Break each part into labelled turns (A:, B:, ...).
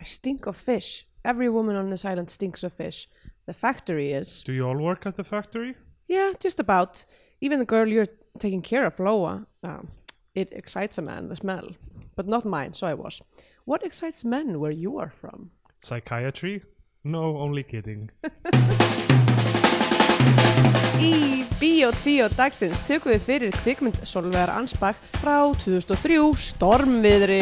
A: I stink of fish. Every woman on this island stinks of fish. The factory is.
B: Do you all work at the factory?
A: Yeah, just about. Even the girl you're taking care of, Loa, um, it excites a man, the smell. But not mine, so I was. What excites men where you are from?
B: Psychiatry? No, only kidding.
A: Í Bíó 2 dagsins tökum við fyrir kvikmynd Solveigar Ansbach frá 2003 Stormviðri.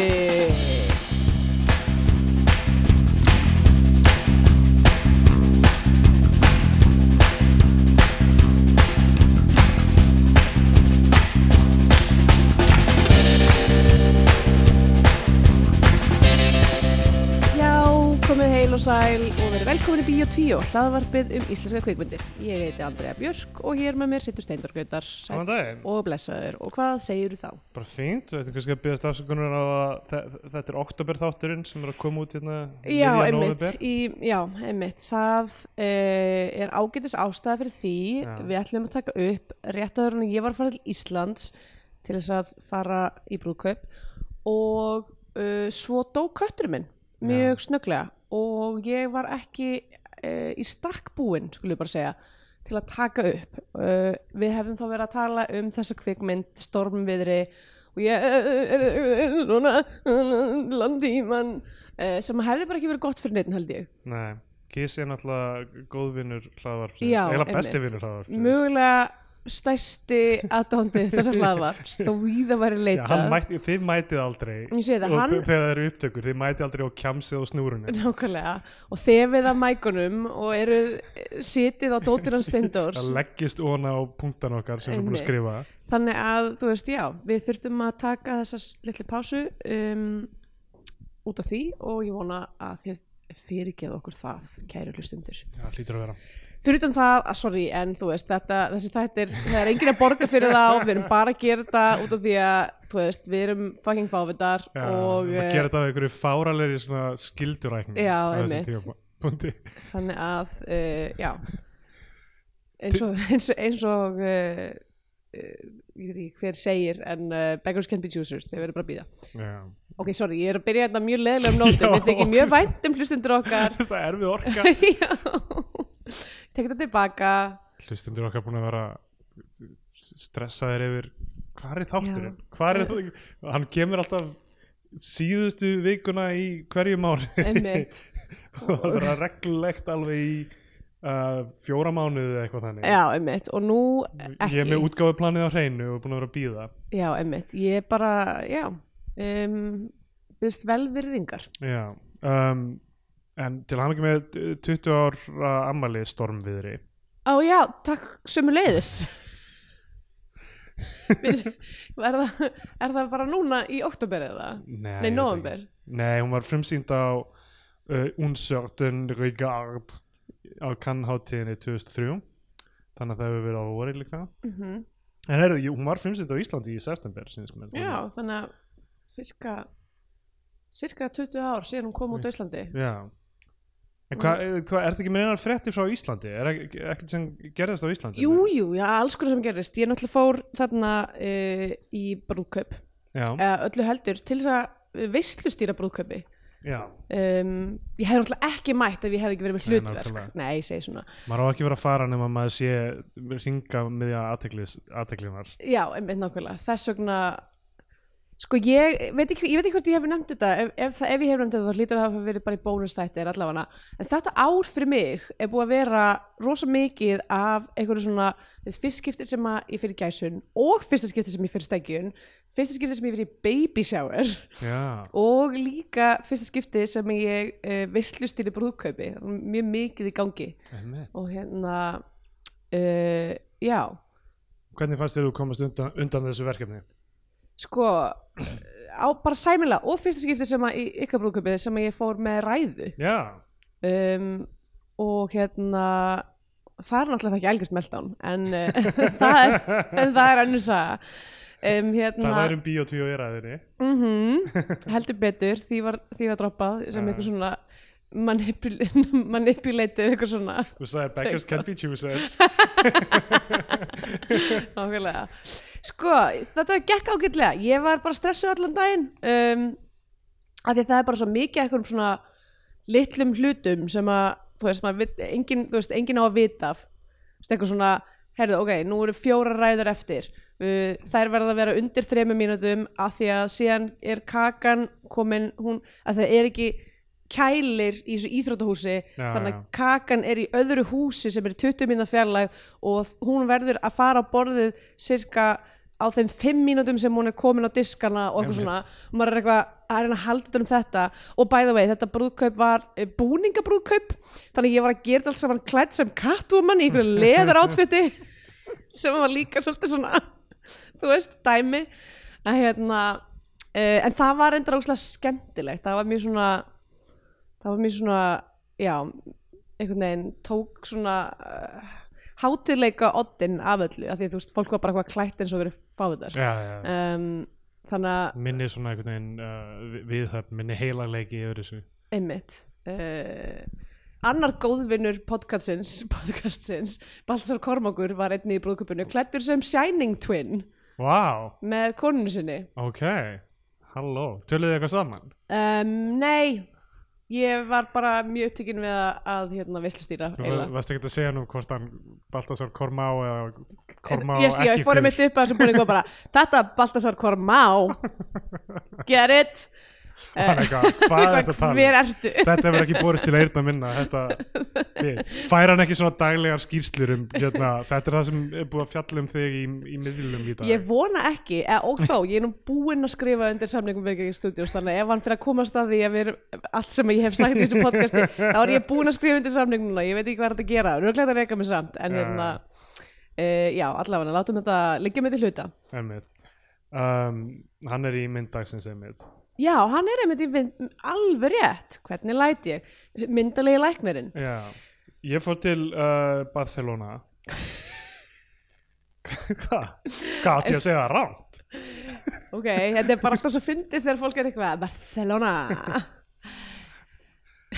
A: Já, komið heil og sæl og verið velkomin í Bíó 2, hlaðvarpið um íslenska kvikmyndir. Ég heiti Andrea Björk og hér með mér sittur Steindor Greitar
B: Góðan daginn.
A: og blessaður. Og hvað segir þú þá?
B: Bara fínt, þetta er kannski að byggast afsökunar á að þe- þetta er oktober þátturinn sem er að koma út hérna
A: Já,
B: miðjan
A: einmitt,
B: nóvember.
A: í, já, einmitt, það uh, er ágætis ástæða fyrir því,
B: Já.
A: við ætlum að taka upp rétt áður en ég var að fara til Íslands til þess að fara í brúðkaup og uh, svo dó köttur minn mjög snögglega og ég var ekki uh, í stakkbúin, skulle ég bara segja, til að taka upp. Uh, við hefum þá verið að tala um þessa kvikmynd, stormviðri og ég eh, er svona landíman uh, sem hefði bara ekki verið gott fyrir neitt held ég.
B: Nei, Kiss er náttúrulega góðvinnur hlaðvarpsins,
A: Já,
B: eiginlega besti
A: einmitt.
B: vinnur hlaðvarpsins.
A: Mögulega stæsti aðdóndi þessa hlaðvarps, þó víða væri
B: Já, hann
A: leitað.
B: mætti, þið mætið aldrei
A: Ég sé það,
B: og
A: hann-
B: þegar það eru upptökur, þið mætið aldrei og kjamsið á snúrunum
A: Nákvæmlega, og þefið af mækunum og eru sitið á dóttir hans Steindórs
B: það leggist ofan á punktan okkar sem við erum búin að
A: Einmitt.
B: skrifa
A: þannig að, þú veist, já, við þurftum að taka þessa litlu pásu um, út af því og ég vona að þið fyrirgeðu okkur það, kæru hlustundur
B: Já, hlýtur að vera
A: fyrir utan það, að sorry, en þú veist þetta, þessi þættir, það er enginn að borga fyrir þá við erum bara að gera þetta út af því að þú veist, við erum fucking fávitar
B: Já,
A: og
B: og
A: eh,
B: að gera þetta af einhverju fáralegri svona skildurækning
A: Já,
B: á þessum
A: einmitt.
B: tímapunkti.
A: þannig að uh, já eins og eins og, eins og uh, uh, ég veit ekki hver segir en uh, beggars can't be choosers, þeir verður bara að býða
B: Já.
A: ok, sorry, ég er að byrja þetta á mjög leðilega um nótum,
B: Já,
A: við þykir mjög
B: ok, svo-
A: vænt um hlustundur okkar
B: það er við orka
A: já tek þetta tilbaka
B: hlustundur okkar búin að vera stressaðir yfir hvað er þátturinn? Hvað er það? Hann kemur alltaf síðustu vikuna í hverju mánu
A: einmitt,
B: og það vera reglulegt alveg í uh, fjóra mánuði eða eitthvað þannig
A: já, einmitt og nú
B: Ég
A: ekki,
B: er með útgáfuplanið á hreinu og búin að vera að býða
A: já, einmitt ég er bara, já um, byrst velvirðingar
B: Já um, En til hann ekki með eh, 20 ára ammali stormviðri
A: Á já, takk sömu leiðis er, það, er það bara núna í oktober eða?
B: Nei,
A: Nei,
B: ég veit
A: nóvember.
B: ekki. Nei, hún var frumsýnd á uh, Uncertain Regard á Cannes-hátíðinni 2003 Þannig að það hefur verið á vori líka
A: Mhm.
B: En heyrðu, jú, hún var frumsýnd á Íslandi í september sinns, mér.
A: Já, þannig að cirka, cirka 20 ár síðan hún kom út á Íslandi
B: Já En hvað, eh, hvað, ertu ekki með einar fréttir frá Íslandi? Er ek- ekkert sem gerðist á Íslandi?
A: Jú, jú, já, alls konar sem gerist Ég náttúrulega fór þarna uh, í brúðkaup
B: Já,
A: eða öllu heldur til þess að veislustýra brúðkaupi
B: já,
A: um, Ég hefði náttúrulega ekki mætt ef ég hefði ekki verið með
B: Nei,
A: hlutverk Nei,
B: nákvæmlega.
A: ég segi svona
B: maður á ekki verið að fara nema maður sé ringa miðja athyglis- athyglinar
A: Já, einmitt nákvæmlega, þess vegna sko ég veit ekki, ég veit ekki hvort ég hef nefnd þetta ef, ef, það- ef ég hef nefnd þetta þá lítur það að hafa verið bara í bónustætti er allavega en þetta ár fyrir mig er búið að vera rosa mikið af einhverju svona þessi fyrst skipti sem að ég fyrir gæsun og fyrsta skipti sem ég fyrir stegjun fyrsta skipti sem ég fyrir baby shower
B: Já,
A: og líka fyrsta skipti sem ég uh, veistlustýri brúðkaupi Það var mjög mikið í gangi
B: einmitt
A: og hérna uh, já
B: Hvernig fannst þér þú komast undan, undan þessu verkefni?
A: sko á bara sæmilega og fyrsta skipti sem að í ykkar brúðkaupið sem að ég fór með ræðu
B: Já,
A: um, og hérna það er náttúrulega ekki algjörst meldán en, uh, það er, en það er annars að um, hérna,
B: það væri um bíó tvíó í ræðinni
A: mm heldur betur því var, því var droppað sem
B: Já.
A: eitthvað svona manipul- manipulated eitthvað svona
B: Þú sagði að beggars can be choosers
A: Nákvæmlega. Sko, þetta gekk ágætlega. Ég var bara stressuð allan daginn um, af því að það er bara svo mikið eitthvað um svona litlum hlutum sem að þú veist, maður, vit- engin, þú veist, engin á að vita af Þú veist, eitthvað svona, herðu, ok, nú eru fjóra ræður eftir uh, þær verða að vera undir þremur mínútum af því að síðan er kakan komin, hún, að það er ekki kælir í þessu íþrótahúsi
B: Já,
A: þannig að
B: já.
A: kakan er í öðru húsi sem er 20 mínúna fjarlæg og hún verður að fara á borðið cirka á þeim 5 mínútum sem hún er komin á diskana og eitthvað
B: Einmitt.
A: svona og maður er eitthvað að reyna að halda utan um þetta og by the way, þetta brúðkaup var eh, búningabrúðkaup þannig að ég var að gera þetta allt saman klætt sem kattúmann í einhverju leður átfiti sem var líka svolítið svona þú veist, dæmi að hérna uh, en það var reyndar óslega skemmtilegt það var mjög svona það var mjög svona, já einhvern veginn tók svona uh, hátileika oddin af öllu, af því að þú veist, fólk var bara eitthvað klætt eins og verið fáðar
B: já, já, já.
A: um, þannig að,
B: minni svona einhvern veginn uh, viðhöfn, minni heilagleiki yfir þessu
A: einmitt uh, annar góðvinnur podcastins, podcastins Baltasar Kormakur var einnig í brúðkupinu klættur sem Shining Twin
B: Vá,
A: með konunni sinni
B: ok, halló Töluðu þið eitthvað saman?
A: um, nei ég var bara mjög upptíkin við að, að hérna, veslustýra
B: Þú var- varst ekki að segja nú hvort hann Baltasar Kormá eða Kormá
A: yes, já, ég fórum mitt upp að þessum búning og bara þetta Baltasar Kormá get it
B: Hann eitthvað, hvað er þetta að tala?
A: hver
B: um?
A: ertu
B: Þetta verður ekki borist til eyrna minna þetta, þið- Fær hann ekki svona daglegar skýrslur um hérna, Þetta er það sem er búið að fjalla um þig í, í miðlum í dag
A: ég vona ekki, eða, og þó ég er nú búinn að skrifa undir samlingum við ekki stúdjós þannig að ef hann fyrir að komast að því að við erum allt sem ég hef sagt í þessu podcasti þá er ég búinn að skrifa undir samlingum núna, ég veit ekki hvað er þetta að gera röglega að reyka mig samt en
B: Já.
A: hérna, uh, já, allavega, látum þetta liggja mig til hluta
B: Einmitt. um, Hann er í mynddagsins einmitt
A: já, hann er einmitt í mynd, alveg rétt hvernig læt ég, myndalegi læknirinn
B: Já, ég fór til uh, Barcelona Hvað? Hvað átti ég að segja það rámt?
A: Ok, þetta er bara alltaf svo fyndið þegar fólk er eitthvað Barcelona,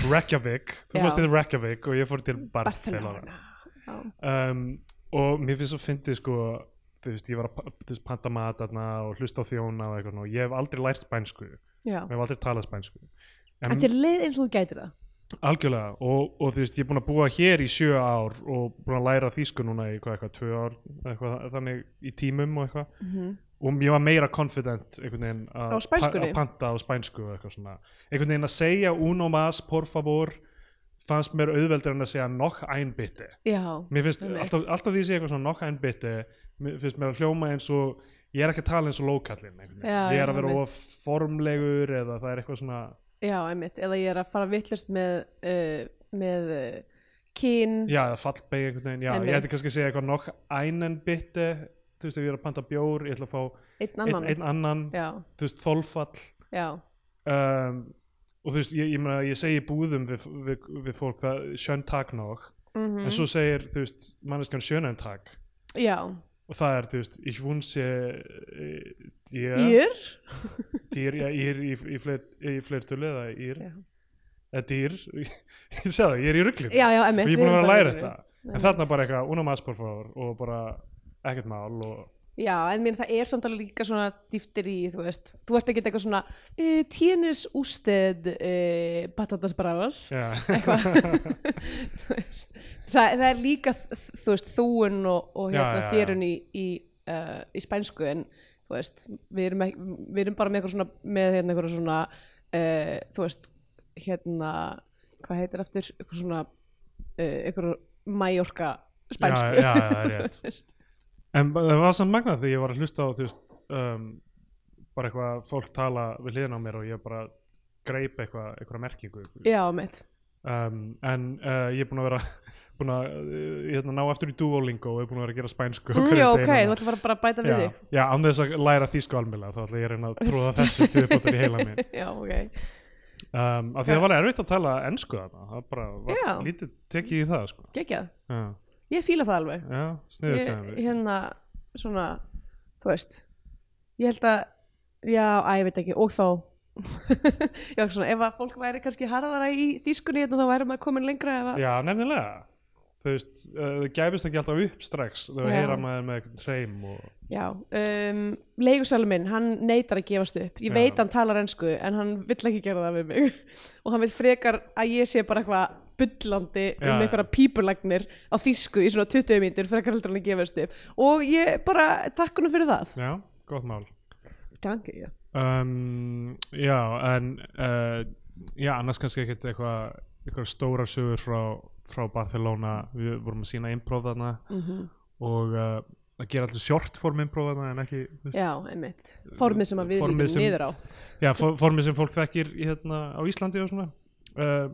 B: Reykjavík, þú
A: Já.
B: fórst til Reykjavík og ég fór til Barcelona
A: Barcelona Já,
B: um, Og mér finnst svo fyndið sko Þú veist, ég var að pa- þú veist, panta mat þarna og hlusta á þjóna og eitthvað og ég hef aldrei lært spænsku, ég
A: já
B: hef aldrei talað spænsku En-
A: Þetta er leið eins og þú gætir það
B: Algjörlega og, og þú veist ég er búin að búa hér í sjö ár og búin að læra þýsku núna í hvað eitthvað tvö ár eitthvað, þannig í tímum og eitthvað -hmm. og ég var meira confident einhvern veginn að
A: Mhm. Á spænskunni?
B: pa- að panta á spænsku og eitthvað svona einhvern veginn að segja uno mas por favor fannst mér auðveldur en að segja nokk ein bitte
A: Já,
B: mér finnst
A: Einmitt.
B: alltaf, alltaf því að segja eitthvað svona nokk ein bitte mér finnst mér að hljóma eins og ég er ekki að tala eins og lókallinn einhvern veginn.
A: Já,
B: ég er að
A: já,
B: vera
A: einmitt.
B: of formlegur eða það er eitthvað svona
A: já, einmitt Eða ég er að fara vittlust með uh, með uh, kín
B: Já, eða fallbegi einhvern veginn, já,
A: Einmitt.
B: ég ætti kannski að segja eitthvað nokk einen bitte, þú veist, ef ég er að panta bjór, ég ætla að fá
A: einn
B: einn
A: annan
B: ein annan,
A: Já,
B: þú veist, þolfall,
A: já,
B: um, og þú veist, ég, ég, meina, ég segi í búðum við, við, við fólk það, sjön takk nokk, en svo segir, þú veist, manneskjan sjönen takk,
A: Mhm. já
B: og það er, þú veist, ich wünsche eh, dir,
A: Ír
B: dir, ja, ír í, í, fleir- í fleirtölu eða ír,
A: Já.
B: eða dýr, ég segi það, ég er í ruglinu
A: Já, já, einmitt
B: og ég er búin að vera að læra
A: við-
B: þetta en
A: Einmitt.
B: þarna bara eitthvað unum aðspórfáður og bara ekkert mál og
A: Já, en mér það er samt alveg líka svona dýftir í, þú veist Þú ert ekki eitthvað svona uh, Tienes ústeð uh, Batatas bravas
B: já,
A: eitthvað Þú veist, það, það er líka þ- þú veist, þúun og, og
B: Já,
A: hérna,
B: já, já.
A: þérun í, í, uh, í spænsku en þú veist, við erum, ekki, við erum bara með eitthvað svona, með hérna eitthvað svona uh, þú veist, hérna hvað heitir eftir, eitthvað svona uh, eitthvað mæjorka spænsku
B: Já, já, já, það er rétt.
A: Þú veist.
B: en ba- það var samt magnað þegar ég var að hlusta á þú veist um, bara eitthvað fólk tala við hliðin á mér og ég bara greip eitthvað, eitthvað merkingu
A: já, mitt
B: um, en uh, ég er búin að vera búin að uh, hérna, ná aftur í Duolingo og er búin að vera að gera spænsku á
A: mm,
B: hverjum
A: já,
B: degi
A: ok,
B: núna.
A: þú ætlar bara að bæta við
B: já,
A: þig
B: já, án þess að læra þýsku almjöla þá ætla ég að reyna að tróða þessu til upp á þetta í heila minn
A: já, ok,
B: um, af því það var erfitt að tala ennsku þarna það bara var
A: Já.
B: lítið tekið í það sko.
A: geggjað
B: já,
A: ég fíla það alveg
B: já sniður
A: ég, hérna svona, þú veist ég held að, já, að ég veit ekki og þá já, svona, ef að fólk væri kannski harðara í þýskunni hérna, þá væri maður komin lengra ef að,
B: já, nefnilega þú veist, eh, þau gæfist ekki alltaf upp strax þau
A: Já.
B: heyra maður með eitthvað treym og
A: Já, um, leigusalur minn, hann neytar að gefast upp. Ég
B: Já.
A: veit hann talar ennsku en hann vill ekki gera það við mig. Og hann vil frekar að ég sé bara eitthvað bullandi
B: Já,
A: um
B: já.
A: einhverja pípulagnir á þýsku í svona 20 mínútur frekar heldur hann að gefast upp. Og ég bara, takk honum fyrir það.
B: já, gott mál
A: Danke, já.
B: um, já, en uh, já, annars kannski ekkert eitthvað eitthvað stóra sögur frá, frá Barcelona, við vorum að sína improv þarna
A: Mhm.
B: og uh, að gera alltaf short form improv þarna en ekki, þú veist,
A: Já, einmitt. Formið sem að við
B: Formið
A: lítum
B: sem-
A: niður á.
B: Já, for- formið sem fólk þekkir í, hérna, á Íslandi og svona uh,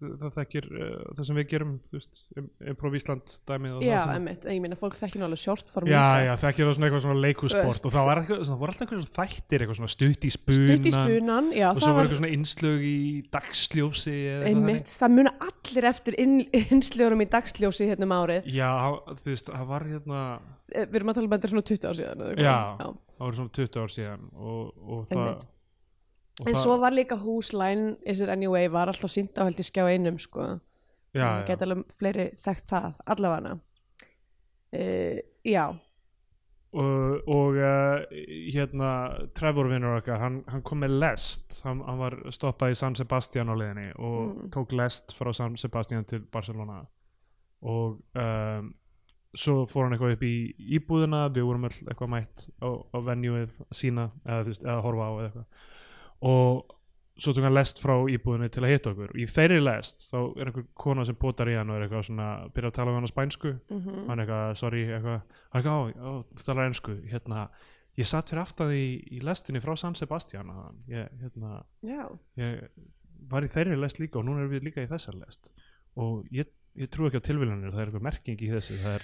B: það það þekkir uh, það sem við gerum þú veist, im- improv Ísland dæmið og
A: Já,
B: það sem
A: einmitt. Ég meina, fólk þekkir nú alveg short formið.
B: Já, já, þekkir það svona eitthvað svona leikúsport
A: Öst.
B: og það var eitthvað, það voru alltaf einhverjum svona þættir eitthvað svona stutt í spunan
A: Stutt í spunan, já,
B: og svo
A: það
B: voru
A: var
B: eitthvað svona innslög í dagsljósi eða eitthvað
A: einmitt. Það muna allir eftir inn, innsljórum í dagsljósi hérna um árið.
B: þannig. Já, hann- þú veist, það var hérna
A: Eh, við erum að tala um að þetta er svona 20 ár síðan eða eitthvað.
B: Já, það voru svona 20 ár síðan og, og það
A: Einmitt.
B: og
A: en
B: það-
A: svo var líka húslæn Is it anyway var alltaf sínt á held í skjá einum sko,
B: já,
A: það
B: já.
A: geta alveg fleiri þekkt það, allavega uh, já,
B: og, og uh, hérna Trevor vinnur okkar, hann, hann kom með lest hann, hann var stoppað í San Sebastian á leiðinni og tók lest frá San Sebastian til Barcelona og um, svo fór hann eitthvað upp í íbúðina við vorum öll eitthvað mætt á, á venjúið sína eða, þú veist, eða horfa á eða eitthvað og svo tók hann lest frá íbúðinni til að hitta okkur í þeirri lest þá er einhver kona sem potar í hann og er eitthvað svona byrja að tala við hann á spænsku
A: Mm. Mhm.
B: hann er eitthvað, sorry, eitthvað hann er eitthvað, "Ó, ó, þú talar ensku hérna, ég satt fyrir aftan í, í lestinni frá San Sebastian áðan. ég, hérna,
A: já.
B: ég var í þeirri lest líka og núna erum við líka í þessar lest og ég, ég trú ekki á tilvílanir það er eitthvað merking í þessu það er,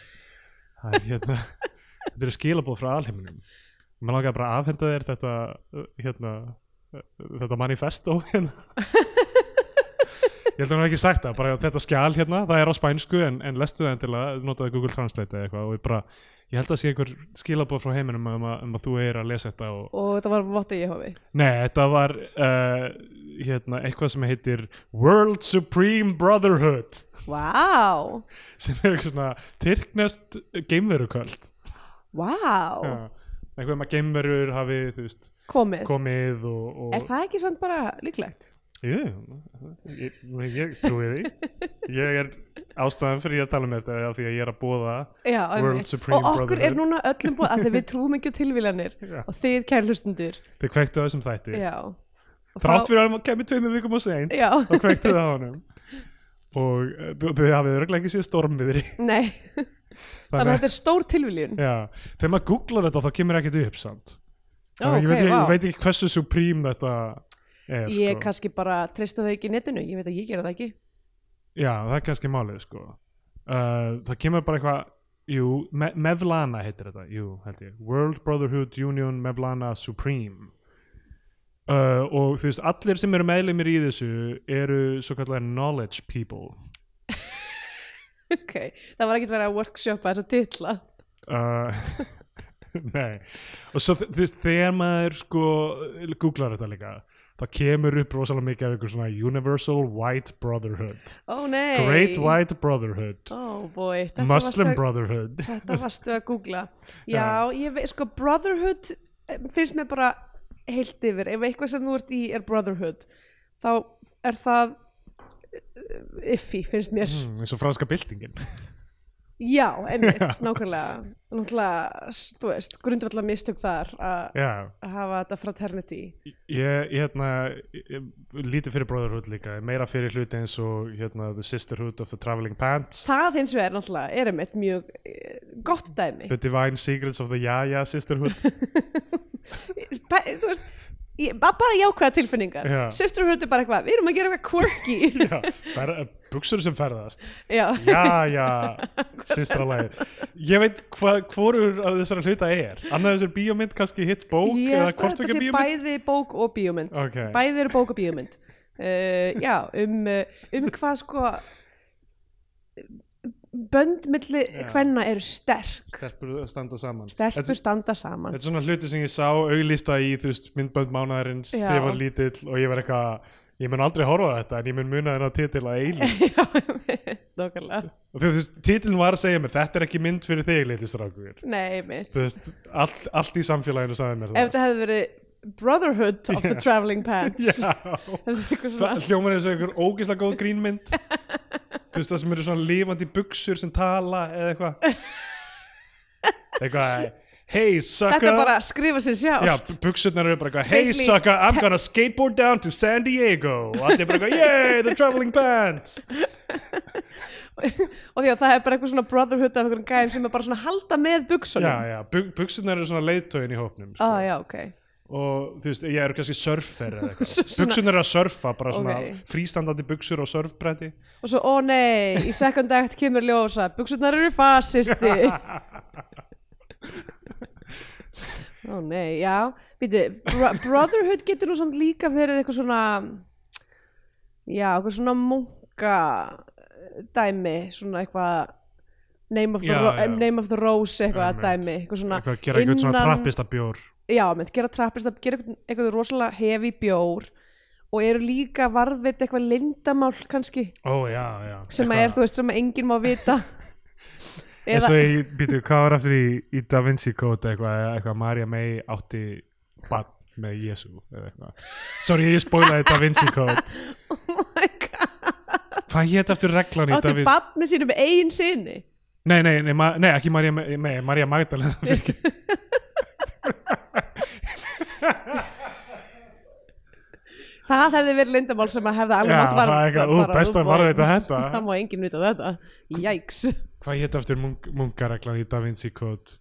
B: það er hérna þetta er skilabóð frá alheiminum maður langar bara að afhenda þér þetta uh, hérna, uh, þetta manifesto hérna ég held að hann hafi ekki sagt það, bara þetta skjal hérna það er á spænsku en, en lestu það endilega notaði Google Translate eða eitthvað og ég bara ég held að sé einhver skilabóð frá heiminum um að, um að þú er að lesa þetta og,
A: og þetta var votta ég hofi
B: Nei, þetta var uh, hérna, eitthvað sem heitir World Supreme Brotherhood
A: wow,
B: sem er eitthvað svona tyrknest geimveruköld
A: wow.
B: Já, eitthvað um að geimverur hafi þú veist,
A: komið,
B: komið og, og
A: er það ekki samt bara líklegt
B: Jú, ég, ég trúi því ég er ástæðan fyrir ég að tala með þetta er af því að ég er að búa
A: Já,
B: World
A: einmitt.
B: Supreme
A: og okkur er
B: Brotherhood.
A: núna öllum búið að því við trúum ekki á tilvílanir
B: Já.
A: og þið kærlustundur
B: þið kveiktu á þessum þætti
A: já. Og
B: þrátt
A: þá-
B: fyrir að hann kemur tveimur vikum og sein
A: já.
B: þá kveiktu það á honum og eh, þið þið hafið örglega ekki séð stormviðri
A: Nei, þannig að þetta er stór tilvíljun
B: Já, þegar maður googlar þetta þá kemur ekkert upp samt
A: Ó,
B: Þannig að ég, veit,
A: ok,
B: ekki-
A: vá.
B: ég veit ekki hversu supreme þetta er
A: Ég
B: sko.
A: kannski bara treysta það ekki í netinu, ég veit að ég gera það ekki.
B: Já, það er kannski málið sko. uh, Það kemur bara eitthvað Jú, me Mevlana heitir þetta Jú, held ég World Brotherhood Union Mevlana Supreme uh, Og þú veist, allir sem eru meðlumir í þessu eru svo kallar knowledge people
A: Ok, það var ekkert verið að workshopa þessa titla.
B: Uh, Nei Og svo þú veist þegar maður sko googlar þetta líka þá kemur upp rosalega mikið af ykkur svona Universal White Brotherhood
A: Ó nei.
B: Great White Brotherhood
A: Ó boy, þetta
B: Muslim
A: varstu,
B: Brotherhood
A: að, þetta varstu að googla. Já,
B: Já.
A: ég veit, sko Brotherhood eh, finnst mér bara heilt yfir. Ef eitthvað sem þú ert í er Brotherhood, þá er það eh, iffy, finnst mér.
B: Mm, eins og franska byltingin
A: Já, einmitt, nákvæmlega. Náttúrulega, s- þú veist, grundvallar mistök þar að
B: Já,
A: að hafa þetta fraternity.
B: ég, ég hérna ég, ég, lítið fyrir Brotherhood líka meira fyrir hluti eins og hérna The Sisterhood of the Traveling Pants
A: Það hins vegar náttúrulega er einmitt mjög eh, gott dæmi.
B: The Divine Secrets of the Yaya Sisterhood
A: Ba- Þú veist, ég, ba- bara jákvæða tilfinningar.
B: Já.
A: Sisterhood er bara eitthvað, við erum að gera eitthvað quirky.
B: Já, fer, buksur sem ferðast
A: Já,
B: já, já, sýstra lagi ég veit hvað hvorur að þessara hluta er annað þessar bíómynd kannski hitt bók
A: Ég
B: eða
A: held að
B: hvort
A: þetta
B: ekki
A: sé
B: bíómynd
A: bæði bók og bíómynd.
B: Ok.
A: Bæði eru bók og bíómynd. Uh, já, um, uh, um hvað sko, bönd milli hvenna eru sterk.
B: stelpur standa saman
A: Stelpur
B: þetta,
A: standa saman.
B: þetta er svona hluti sem ég sá auglýsta í þú veist myndbönd mánaðarins
A: Já.
B: þegar ég var lítill og ég var eitthvað ég mun aldrei horfa á þetta en ég mun muna þennan titil að eilu
A: já, nokkarlega
B: og þú veist, titilin var að segja mér þetta er ekki mynd fyrir þig, litli strákur
A: nei, mitt
B: þú veist, allt, allt í samfélaginu sagði mér
A: ef
B: það
A: þetta hefði verið Brotherhood of the Traveling Pants
B: já,
A: það er eitthvað
B: það
A: svona
B: hljómar eins og einhver ógeðslega góð grínmynd þú veist, það sem eru svona lifandi buksur sem tala eða eitthvað eitthvað, hey sucker
A: þetta bara skrifa sér
B: Já,
A: sjást
B: buksurnar eru bara eitthvað Hey
A: Basically,
B: sucker, I'm
A: te-
B: gonna skateboard down to San Diego og allir bara eitthvað, yay, the traveling band
A: og því að það er bara eitthvað svona Brotherhood af einhverjum gæm sem er bara svona að halda með
B: Já,
A: buksunum
B: já, bu- buksurnar eru svona leiðtögin í hópnum sko.
A: ah, já, ok
B: og þú veist, ég eru kannski surfer
A: Svo
B: eða eitthvað
A: svona-
B: Buksurnar eru að surfa, bara svona
A: Ok.
B: frístandandi buksur og surfbretti
A: og svo, ó nei, í second act kemur ljósa, buksunar eru fasisti ó nei, já býtu, bro Brotherhood getur nú samt líka verið eitthvað svona já, eitthvað svona munka eh, dæmi, svona eitthvað Name of, the
B: Já,
A: ro-
B: já.
A: name of the Rose eitthvað
B: Einmitt.
A: dæmi eitthvað svona
B: eitthvað, gera eitthvað svona trappista bjór
A: já, menn, gera trappist að gera eitthvað, eitthvað rosalega hefi bjór og eru líka varðveit eitthvað lindamál kannski
B: Ó, já, já
A: sem að er, þú veist, sem að enginn má vita
B: Eða
A: eða,
B: svo ég, býtu, hvað var aftur í, í Da Vinci Code eitthvað, eitthvað Maria May átti bann með Jésu eða eitthvað Sorry, ég spoilaði Da Vinci Code
A: oh my god
B: Hvað hétt aftur reglan í
A: átti
B: David?
A: bann með sínum eigin sinni
B: Nei, nei, nei, ma nei, ekki Maria, nei, Maria Magdalena fyrir ekki.
A: það hefði verið lindamál sem að hefði alveg
B: Já,
A: átt var
B: það er eitthvað, ú, best að varðveita þetta.
A: það má enginn vita þetta jæks
B: Hvað hétt aftur munk munkareglan í Da Vinci Code?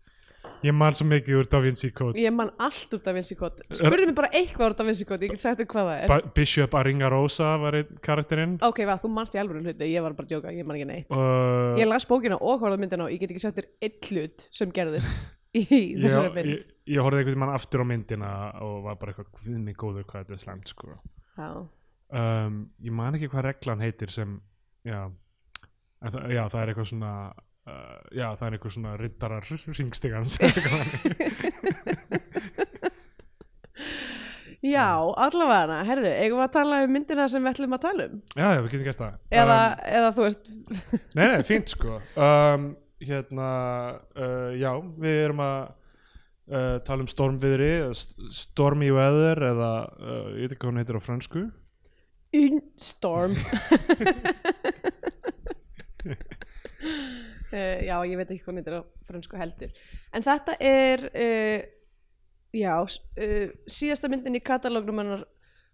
B: Ég man svo mikið úr Da Vinci Code.
A: ég man allt út af vinsikot spurðu mig bara eitthvað úr af vinsikot ég get sagt þér hvað það er
B: Ba Bishop Aringa Rosa var einn karakterinn.
A: ok, va, þú manst í alvöru hluti, ég var bara að djóka, ég man ekki neitt
B: Og
A: ég las bókina og horfði á myndina og ég get ekki sagt þér eitt hlut sem gerðist í þessari
B: ég,
A: mynd
B: ég, ég horfði einhvern mann aftur á myndina og var bara eitthvað, hvinn mig góður hvað þetta er slemt, sko.
A: já,
B: Um, ég man ekki hvað reglan heitir sem, já, en það, já, það er eitthvað svona, uh, já, það er eitthvað svona rittarar ringstigans.
A: já allavega herðu, eigum við að tala um myndina sem við ætlum að tala um
B: já, já, við getum gert það.
A: eða,
B: Um,
A: eða þú veist
B: Nei, nei, fínt sko um, Hérna, uh, já, við erum að uh, tala um stormviðri eða st- Stormy weather eða, uh, ég veit ekki hvað hún heitir á fransku
A: Unstorm uh, Já, ég veit ekki hvað nýttir á fransku heldur En þetta er uh, Já s- uh, Síðasta myndin í katalógnum hennar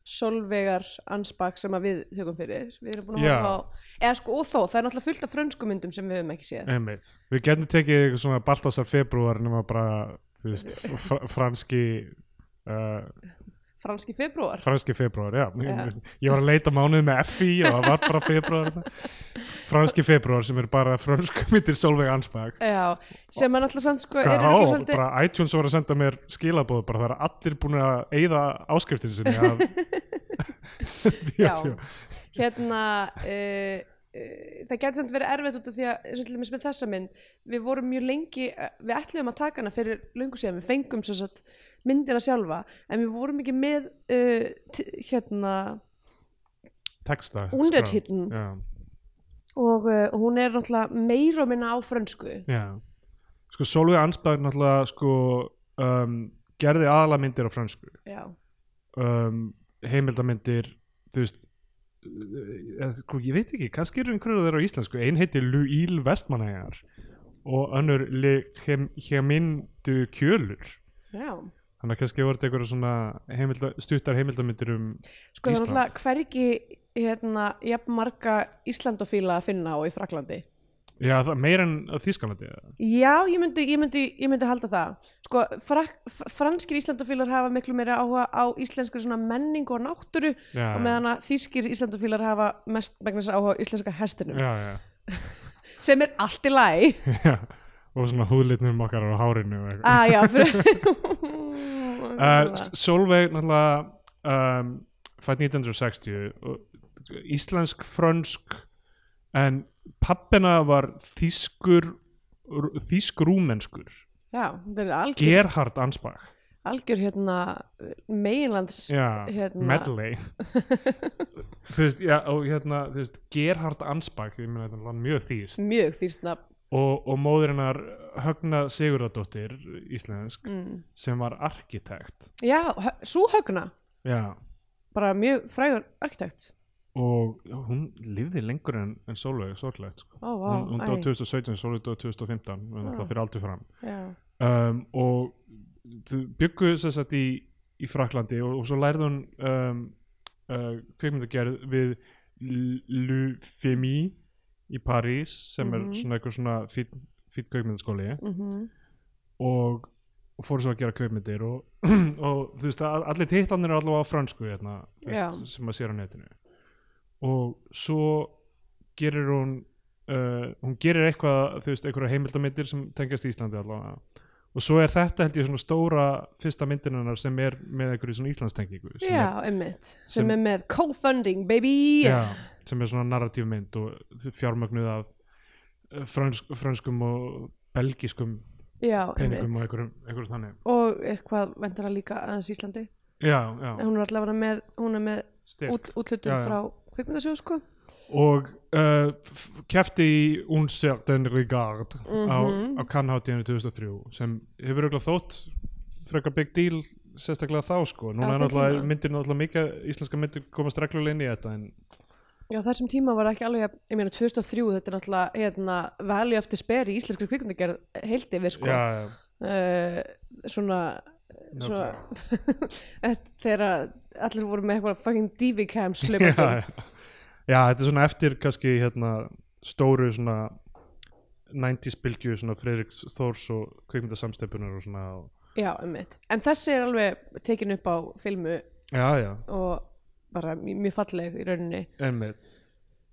A: Solveigar Ansbak sem að við þjókum fyrir Við erum búin að
B: Já.
A: horfa á Eða sko, og þó, það er náttúrulega fullt af frönsku myndum sem við höfum ekki séð
B: Einmitt. Við getum tekið eitthvað svona Baltasar februar nema bara, þú veist, fr franski Uh,
A: Franski februar
B: franski februar, já.
A: Já.
B: ég var að leita mánuð með FI og það var bara februar franski februar sem er bara frönsku myndir Solveig Ansbak
A: Já, sem er náttúrulega samt sko er
B: Já,
A: náttúrulega svolítið-
B: bara iTunes var að senda mér skilabóð bara það er allir búin að eyða áskriftin sinni af bíotjó
A: hérna uh, uh, það getur samt verið erfitt út af því að eins og til dæmis með þessa mynd við vorum mjög lengi, eh, við ætluðum að taka hana fyrir löngu síðan, við fengum svo satt myndina sjálfa, en við vorum ekki með uh, t- hérna
B: texta
A: Undertiteln.
B: skrá. Já,
A: og uh, hún er náttúrulega meira og minna á frönsku
B: já. Sko Solveig Ansberg náttúrulega sko um, gerði aðalega myndir á fransku
A: já,
B: um, heimildamindir þú veist eh, eh, sko, ég veit ekki, kannski eru einhverju þeirra á íslensku ein heitir Luíl Vestmanæjar og önnur Le Chemindu Kjölur
A: já
B: Þannig að kannski voru þetta einhverja svona heimilda, stuttar heimildamindir um
A: sko það er
B: Ísland.
A: náttúrulega hvergi hérna, jafn marga Íslandofíla að finna á í Fraklandi
B: Já, það, meir en á Þýskalandi eða?
A: Já, ég myndi, ég myndi, ég myndi halda það. Sko, frak, fr- franskir Íslandofílar hafa miklu meira áhuga á íslenskri svona menningu og náttúru
B: Já,
A: og meðan að þýskir Íslandofílar hafa mest vegna þess að áhuga á íslenska hestinum
B: já, já,
A: sem er allt í lagi.
B: já. og svona húðlitnum okkar á hárinu og eitthvað.
A: ah, já, fyrir...
B: uh, S- Solveig náttúrulega um, fætt 1960 og íslensk, frönsk en pappina var þýskur þýskrúmenskur
A: já, það er algjör,
B: Gerhard Ansbach
A: algjör hérna meginlands
B: Já,
A: hérna-
B: medley Þú veist, já, og hérna þú veist, Gerhard Ansbach, ég meina þetta er mjög þýst
A: mjög þýstna
B: og, og móðurinnar Högna Sigurðardóttir íslensk
A: mm.
B: sem var arkitekt
A: já, hö- sú högna
B: Já,
A: bara mjög frægur arkitekt
B: og hún lifði lengur en, en Sólveig, sorglegt sko.
A: ó, vá,
B: hún, hún dó
A: æ,
B: 2017, Sólveig dó 2015 við erum
A: Já.
B: alltaf fyrir aldur fram
A: já,
B: um, og þau byggu sem sagt í, í Fraklandi og, og svo lærði hún um, uh, kveikmyndagerð við Lufemi í París sem
A: Mhm.
B: er svona eitthvað svona fýtt fýt kveikmyndaskóli
A: mm
B: og, og fór svo að gera kveikmyndir og, og þú veist að allir titlanir eru allavega á fransku hérna, þú
A: Já.
B: veist, sem maður sér á netinu og svo gerir hún uh, hún gerir eitthvað þú veist, einhverja heimildamindir sem tengjast Íslandi allavega og svo er þetta held ég svona stóra fyrsta myndin hennar sem er með einhverju svona Íslandstengingu sem
A: já, einmitt sem,
B: sem-
A: er með co-funding baby
B: er, já, sem er svona narratív mynd og fjármögnuð af eh, frönsk, frönskum og belgiskum
A: já
B: peningum
A: einmitt
B: og einhverjum, einhverjum þannig
A: og eitthvað vendur að líka aðeins Íslandi
B: já, já,
A: en hún er allavega með, hún er með
B: styrk.
A: út, útlutun
B: Já, já.
A: frá kvikmyndasjóð sko
B: og uh, kefti í Uncertain Regard á,
A: Mhm.
B: á Cannes-hátíðinu 2003 sem hefur auðvitað þótt frekar big deal sérstaklega þá sko
A: Já,
B: núna er
A: þeim
B: náttúrulega
A: tíma.
B: myndir náttúrulega mikið íslenska myndir komast reglulega inn í þetta en
A: Já, þessum tíma var ekki alveg, jafn- ég meina 2003, þetta er náttúrulega hérna, value of despair í íslenskri kvikmyndagerð heilt yfir, sko.
B: já,
A: Uh, svona, svona, þegar allir voru með eitthvað fucking DV-cam
B: já,
A: slöpum.
B: já. já, þetta er svona eftir kannski hérna stóru svona 90s bylgju svona Fredriks Þórs og kveikmyndasamstepunar og svona og,
A: Já, einmitt. En þessi er alveg tekin upp á filmu
B: já, já,
A: og bara mj- mjög falleg í rauninni,
B: einmitt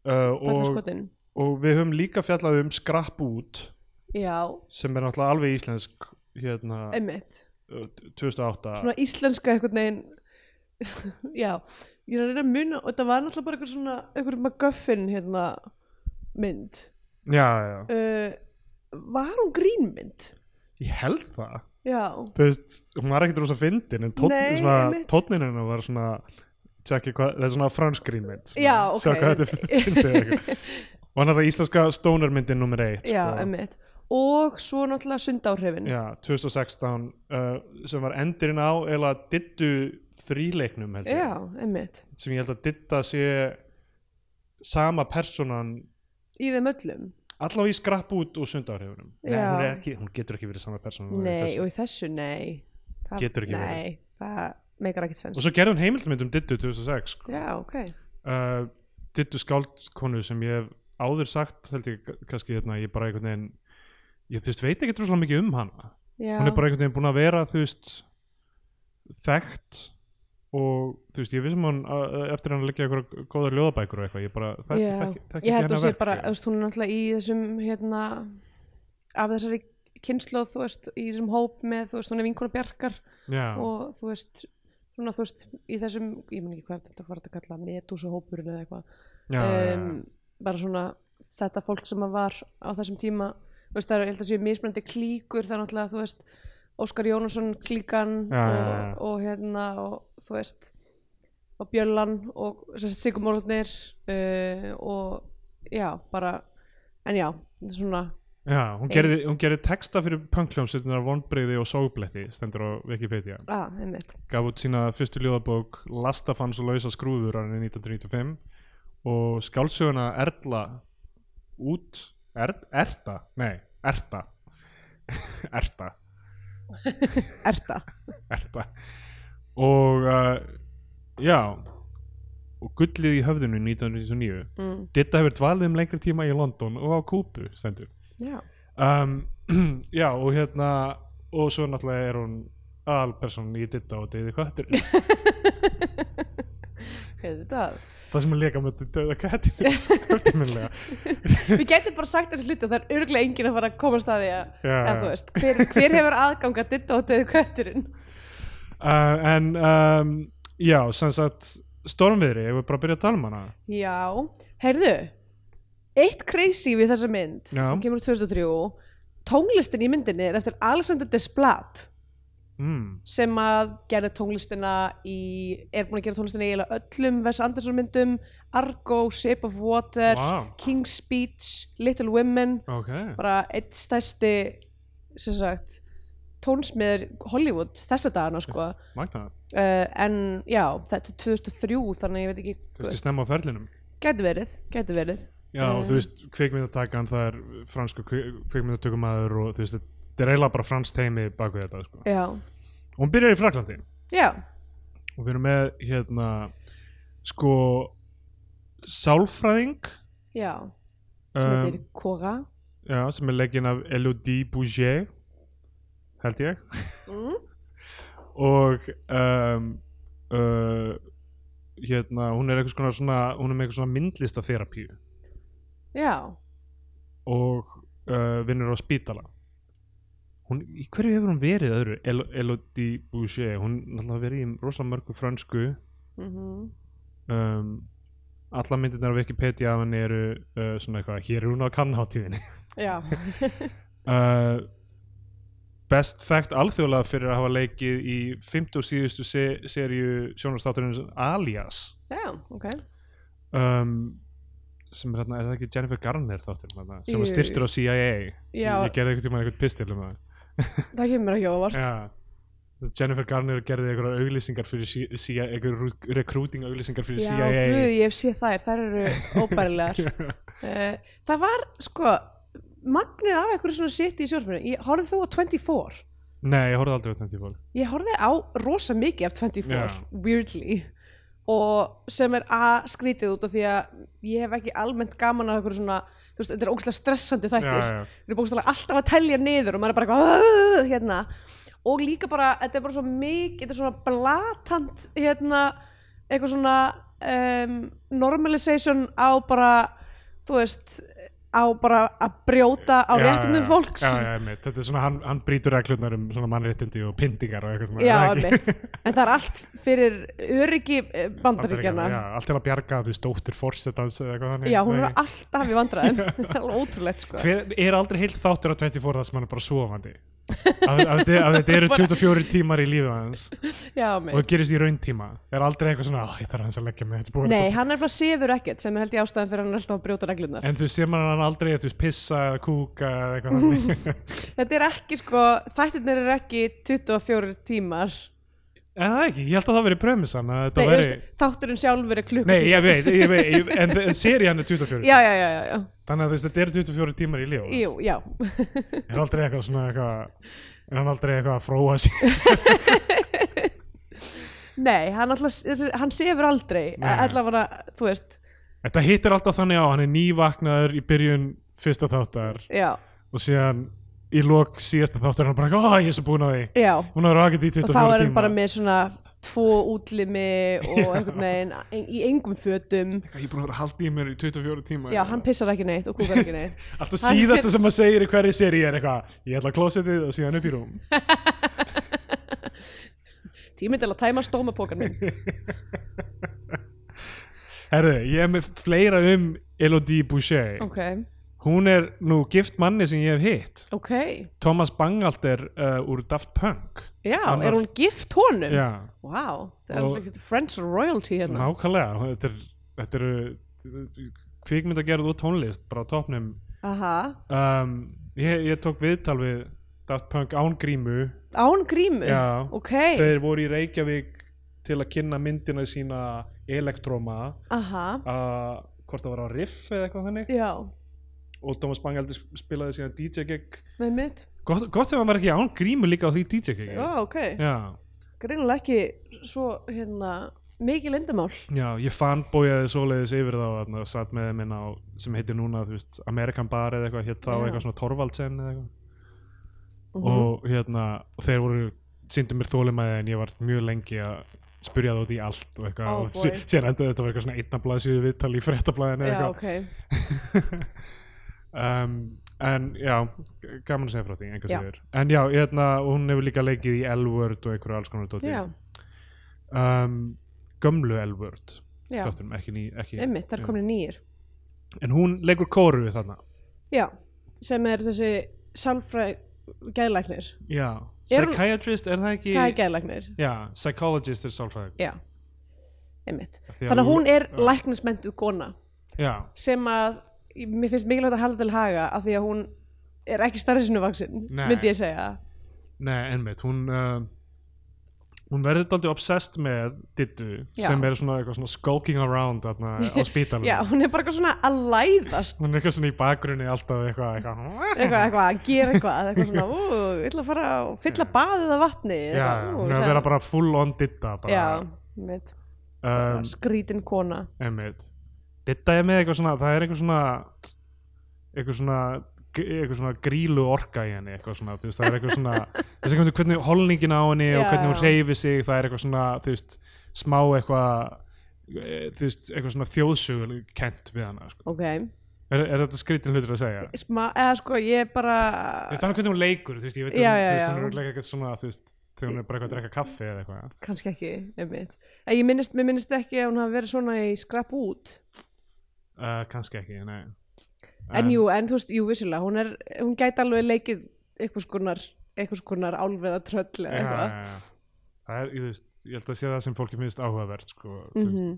B: uh,
A: falleg
B: og,
A: skotin.
B: og við höfum líka fjallað um skrapp út
A: Já,
B: sem er náttúrulega alveg íslensk hérna
A: einmitt.
B: uh, 2008
A: Svona íslenska einhvern veginn, já, ég er að reyna að muna og þetta var náttúrulega bara eitthvað svona, eitthvað MacGuffin hérna mynd.
B: já, já.
A: uh, var hún grínmynd?
B: ég held það
A: Já,
B: þú veist, hún var ekkert rosa fyndin en tónn-
A: Nei,
B: svona,
A: einmitt.
B: tónninn hennar var svona tjekki hvað, það er svona franskrýmynd
A: Já, ok.
B: sjá hvað þetta er fyndið eða eitthvað. og hann er það íslenska stónarmyndin nummer eitt
A: já,
B: sko.
A: emmitt og svo náttúrulega sundáhrifin
B: já, 2016 uh, sem var endurinn á eða dittu þríleiknum held ég,
A: já emmitt
B: sem ég held að ditta sé sama personan
A: í þeim öllum
B: allavega í skrapp út og sundarhefunum Nei,
A: Já.
B: hún, er ekki, hún getur ekki verið sama persóna og
A: nei,
B: þessu.
A: og í þessu nei það,
B: Getur ekki
A: nei, það meikar ekkert sens
B: og svo gerði hún heimildmynd um Dittu 2006 sko.
A: já, ok,
B: uh, Dittu skáldkonu sem ég hef áður sagt held ég kannski hérna, ég bara einhvern veginn ég þú veist, veit ekki droslega mikið um hana
A: já,
B: hún er bara einhvern veginn búin að vera þú veist þekkt og þú veist, ég vissum hún uh, eftir hann að leggja einhverja góðar ljóðabækur og eitthvað, ég bara þekki,
A: Já.
B: þekki, þekki
A: ég held að sé
B: verk, sko.
A: bara,
B: ég.
A: þú veist, hún er náttúrulega í þessum hérna, af þessari kynnslóð, þú veist, í þessum hóp með, þú veist, hún er vinkona bjargar
B: Já.
A: og þú veist, svona, þú veist í þessum, ég mun ekki hvað þetta var þetta að kalla netúsahópurinn eða eitthvað
B: já, já, já.
A: um, bara svona þetta fólk sem að var á þessum tíma þú veist, það er, ég held að séu mismunandi klíkur það er náttúrulega, þú veist, Óskar Jónusson klíkan
B: Já,
A: og,
B: já, já.
A: og hérna og þú veist og Bjöllan og Sigurmórnir uh, og já, bara en já, svona
B: Já, hún gerði, hún gerði texta fyrir punkljómsveitunar vonbreyði og sógbletti stendur á Wikipedia.
A: að, einmitt
B: Gaf út sína fyrstu ljóðabók Lastafans og lausa skrúður árið 1995 og skálsöguna Erla út er, Erta? Nei, Erta Erta
A: Erta,
B: Erta og uh, já og gullið í höfðinu 1999
A: mm,
B: Ditta hefur dvalið um lengri tíma í London og á Kúpu stendur
A: já,
B: um, já og hérna og svo náttúrulega er hún aðalpersonan í Ditta og Deyði Köttur
A: hefði þetta
B: það sem er leika með Dauða Köttur eftirminnilega
A: Við getum bara sagt þessi hluti og það er örglega enginn að fara að komast að því að
B: Já,
A: eða
B: já.
A: þú veist, hver, hver hefur aðgang að ditta og döðu kötturinn
B: uh, en um, já sem sagt stormviðri, ég vil bara að byrja að tala um hana
A: Já, heyrðu Eitt crazy við þessa mynd
B: Já.
A: hún kemur úr 2003 tónlistin í myndinni er eftir Alexander Desplat
B: mm,
A: sem að gerði tónlistina í, er búin að gera tónlistina í eiginlega öllum Wes Anderson myndum, Argo, Shape of Water,
B: Vá.
A: King's Speech, Little Women,
B: ok,
A: bara eitt stærsti, sem sagt, tónsmiður Hollywood þessa dagana sko.
B: magnaður
A: Uh, en já, þetta er 2003 þannig ég veit ekki, þú
B: Þetta
A: veist,
B: stemma á ferlinum
A: gæti verið, gæti verið.
B: Já, og þú veist, kvikmyndatakan það er fransku kvikmyndatökumæður og þú veist, þetta er eiginlega bara franskt heimi bak við þetta, sko.
A: Já,
B: Og hún byrjar í Fraklandi
A: já,
B: og við erum með, hérna sko sálfræðing
A: já, sem
B: um,
A: heitir Cora.
B: já, sem er leggin af Elodie Bouget held ég
A: Mm.
B: og um, uh, hérna, hún er eitthvað svona hún er með eitthvað svona myndlistaþerapíu
A: Já,
B: og uh, vinnur á spítala hún, í hverju hefur hún verið öðru El Elodie Boucher hún er náttúrulega verið í rosalega mörgu frönsku
A: mhm.
B: um, alla myndirnar á Wikipedia af henni eru uh, svona eitthvað hér er hún á kannháttíðinni
A: já,
B: uh, best þekkt alþjóðlega fyrir að hafa leikið í 50 og síðustu se seríu sjónarstátturins Alias
A: já, ok.
B: um, sem er þarna, er það ekki Jennifer Garner þáttur þarna, sem
A: Jú,
B: er styrtur á CIA
A: Já.
B: ég gerði einhvern tímann einhvern pistil um það
A: Það kemur mér ekki á óvart.
B: Já. Jennifer Garner gerði einhverjar auglýsingar fyrir C- CIA, einhverjar recruiting auglýsingar fyrir
A: Já,
B: CIA
A: guð, ég hef séð þær, þær eru óbærilegar. uh, það var, sko, magnið af einhverju svona sitt í sjórfinu. Ég horfði þú á 24.
B: Nei, ég horfði aldrei á 24
A: Ég horfði á rosa mikið af 24,
B: Já.
A: weirdly. Og sem er að skrítið út af því að ég hef ekki almennt gaman af einhverju svona, þú veist, þetta er ógustlega stressandi þættir.
B: Já, já.
A: Þeir eru bókstaflega alltaf að telja niður og maður er bara eitthvað "Ugh", hérna. Og líka bara, þetta er bara svo mikið, þetta er svona blatant hérna, eitthvað svona um, normalization á bara, þú veist, á bara að brjóta á
B: Já,
A: réttundum
B: já, já.
A: fólks.
B: Já, já, einmitt. Þetta er svona, hann, hann brýtur reglunar um svona mannréttindi og pyntingar og eitthvað svona,
A: Já,
B: er það ekki?
A: einmitt. En það er allt fyrir öryggi eh, bandaríkjana.
B: Já, allt til að bjarga, þú veist, dóttir forsetans eða eitthvað þannig
A: Já, hún er
B: Nei.
A: alltaf í vandræðum. Það er alveg ótrúlegt, sko.
B: Hver, er aldrei heilt þáttur á 24 þar sem hann er bara svofandi að, að, að, að þetta eru 24 tímar í lífið hans
A: Já,
B: og
A: mitt.
B: það gerist í rauntíma er aldrei eitthvað svona, "Ah, ég þarf hans að leggja mig þetta er búið að
A: Nei, hann er bara séður ekkert sem er held ég ástæðan fyrir að hann er alltaf að brjóta reglunar.
B: En þú sér maður hann aldrei, þú veist, pissa eða kúka eða eitthvað þannig.
A: Þetta er ekki sko, þættirnir eru ekki 24 tímar
B: En það ekki, ég held að það veri premisan að þetta
A: Nei,
B: veri...
A: veist, Þátturinn sjálfur er klukk
B: Nei, ég veit, ég veit, ég, en þe- serían er 24.
A: já, já, já, já, já,
B: Þannig að þú veist, þetta eru 24 tímar í líf.
A: Jú, já.
B: Er aldrei eitthvað svona eitthvað, er hann aldrei eitthvað að fróa sér.
A: Nei, hann, alltaf, þessi- hann sefur aldrei
B: Nei.
A: allavega, þú veist
B: Þetta hittir alltaf þannig á, hann er nývaknaður í byrjun fyrsta þáttar
A: Já,
B: og síðan í lok síðasta þáttar er hann bara, eitthvað, ó, ég er svo búin að því.
A: já
B: Hún er rakið í
A: og
B: 24 tíma.
A: þá er hann bara með svona tvo útlimi og einhvern veginn ein- í engum fötum
B: Ég er búin að vera haldið í mér í 24 tíma.
A: Já, hann pissar ekki neitt og kúkar ekki neitt
B: Alltaf
A: Hann-
B: síðasta sem maður segir í hverju seri er eitthvað Ég ætla að klósetið og síðan upp í rúm
A: Tíminn til að tæma stómapókan minn
B: Herðu, ég er með fleira um Elodie Boucher
A: Ok,
B: Hún er nú gift manni sem ég hef hitt
A: ok
B: Thomas Bangalter uh, úr Daft Punk
A: Já,
B: Hann
A: er
B: var-
A: hún gift honum?
B: Já,
A: Vá, það er
B: Og-
A: alltaf French royalty hérna
B: nákvæmlega Þetta er, þetta er kvikmyndagerð og tónlist bara á topnum
A: Aha,
B: um, ég, ég tók viðtal við Daft Punk án grímu
A: án grímu?
B: Já.
A: Ok,
B: Þeir voru í Reykjavík til að kynna myndina sína Elektróma
A: aha,
B: að hvort það var á riff eða eitthvað þannig
A: já,
B: og Thomas Bangalter spilaði síðan DJ gig
A: með mitt.
B: gott, gott ef hann var ekki án grímu líka á því DJ gig
A: Já, ok,
B: já,
A: greinilega ekki svo, hérna, mikið lindamál.
B: já, ég fanbójaði svoleiðis yfir þá þarna, og satt með þeim inn á sem heitir núna, þú veist, American Bar eða eitthvað hétt þá
A: Já.
B: eitthvað svona Torvaldsen eða eitthvað
A: Mhm.
B: og hérna, og þeir voru síndu mér þólimaði en ég var mjög lengi að spyrja það út í allt og eitthvað
A: Oh
B: og sé-
A: boy.
B: síðan endaði þetta var eitthvað svona einna blaðsíðu viðtal í fréttablaðinu eða
A: Já,
B: eitthvað
A: ok,
B: um, en já, g- gaman að segja frá því enga
A: Já.
B: sigur, en já, hérna hún hefur líka leikið í L-Word og einhverju alls konar dóti
A: já,
B: um, gömlu L-Word
A: já,
B: þáttum, ekki ný ekki,
A: einmitt, það
B: já.
A: er komin nýjir.
B: en hún leikur kóru þarna
A: Já, sem er þessi sálfræ, geðlæknir
B: já,
A: Er hún-
B: psychiatrist er það ekki
A: hvað er geðlæknir?
B: já, psychologist er sálfræðingur
A: já, einmitt
B: Því að
A: þannig að
B: hún-
A: hún er læknismentuð kona
B: já,
A: sem að mér finnst mikilvægt að halda til haga af því að hún er ekki starri sinu vaksin
B: Nei.
A: myndi ég segja
B: nei, einmitt hún uh, hún verður dálítið obsessed með Dittu
A: Já.
B: sem er svona eitthvað svona skulking around þarna á spítalum
A: já, hún er bara eitthvað svona að læðast
B: hún er eitthvað svona í bakgrunni alltaf eitthvað, eitthvað.
A: eitthvað, eitthvað, að gera eitthvað eitthvað svona, ú, ég ætla að fara og fylla baðið af vatni
B: Já, já, hún er að vera bara full on Ditta bara,
A: já, mitt,
B: um,
A: skrítin kona
B: Einmitt. Ditta er með eitthvað svona, það er eitthvað svona eitthvað svona eitthvað svona grílu orka í henni eitthvað svona, þú veist, það er eitthvað svona þess að hvernig holningin á henni og
A: Já,
B: hvernig hún
A: já.
B: reyfi sig, það er eitthvað svona þú veist, smá eitthvað e, þú veist, eitthvað svona þjóðsugun kent við hana, sko.
A: ok,
B: er, er þetta skrítin hlutur að segja?
A: Sma, eða sko ég er bara
B: Þú veist, hann hvernig hún leikur, þú veist, ég veit
A: Já,
B: um,
A: já,
B: þú veist,
A: já.
B: hún er örugglega eitthvað svona, þú veist, þegar hún er bara eitthvað að drekka kaffi eða eitthvað.
A: kannski ekki, einmitt en ég minnist, mér minnist ekki að hún hafi verið svona í skrapp út,
B: Uh, kannski ekki, nei.
A: en, jú, en þú veist jú, vissulega, hún er, hún gæti alveg leikið einhvers konar, einhvers konar álveða tröll eða
B: já, já,
A: eitthvað
B: já. það er, ég, veist, ég held að sé það sem fólki finnst áhugavert sko, mm
A: mhm, mm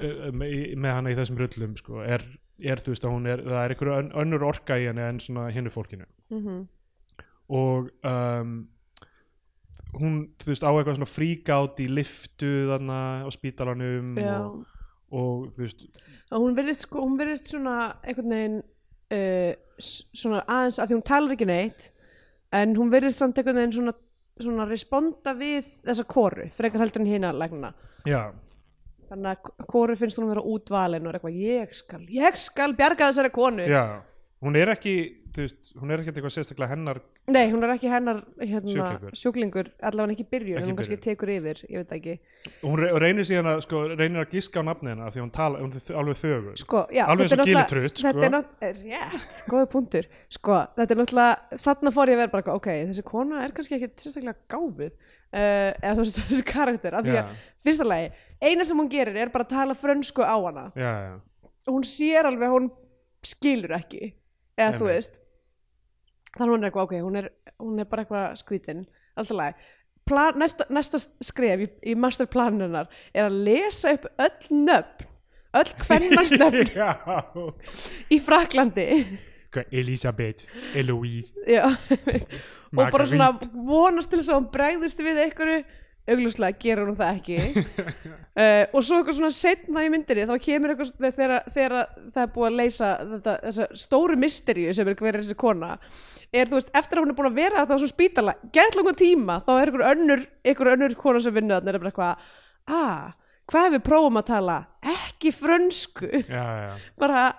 B: Eh, með, með hana í þessum rullum sko, er, er þú veist að hún er það er einhver ön- önnur orka í henni en svona hinnu fólkinu
A: mhm,
B: og um, hún þú veist á eitthvað svona fríkátt í liftu þarna á spítalanum
A: já
B: og, og þú veist
A: og hún verðist sko, hún verðist svona einhvern veginn uh, s- svona aðeins, af því hún talar ekki neitt en hún verðist samt einhvern veginn svona, svona responda við þessa kóru, frekar heldur en hina lækna
B: já,
A: þannig að kóru finnst hún vera útvalin og er eitthvað, ég skal, ég skal bjarga þessari konu
B: já hún er ekki þú veist, hún er ekki eitthvað sérstaklega hennar
A: nei, hún er ekki hennar hérna,
B: Sjúklingur.
A: sjúklingur, allavega ekki í byrjun
B: Ekki í
A: hún kannski
B: byrjun.
A: tekur yfir, ég veit það ekki
B: hún re- reynir síðan að sko, reynir að giska á nafni hennar af því hún tala, hún er þ- alveg þögur
A: sko, já,
B: Alveg
A: þetta
B: eins og
A: er náttúrulega-
B: gilitrutt, sko.
A: þetta er náttúrulega, rétt, góða punktur sko, þetta er náttúrulega, þarna fór ég að vera bara eitthvað, ok, þessi kona er kannski ekki sérstaklega gáfuð, uh, eða þú veist þessi karakter, af því
B: Já.
A: að, fyrsta lagi eina sem hún gerir er bara að tala frönsku á hana
B: já, já,
A: og hún sér alveg að hún skilur ekki eða þú
B: Einmitt.
A: veist þannig að hún er eitthvað, ok, hún er, hún er bara eitthvað skrítin, alltaf lagi Plan, næsta, næsta skref í, í masterplaninnar er að lesa upp öll nöfn öll kvennarsnöfn
B: já.
A: í Fraklandi
B: Hvað, Elisabeth, Eloise
A: já, og bara svona vonast til þess að hún bregðist við einhverju augljóslega gerur hún það ekki uh, og svo eitthvað svona setna í myndinni þá kemur eitthvað svona- þegar, þegar það er búið að leysa þetta, þessa stóru misteríu sem er hver er þessi kona er þú veist, eftir að hún er búin að vera þá svo spítala, gett langan tíma þá er einhver önnur, einhver önnur kona sem vinnu þannig er bara eitthvað, ah hvað ef við prófum að tala, ekki frönsku
B: Já, já,
A: bara,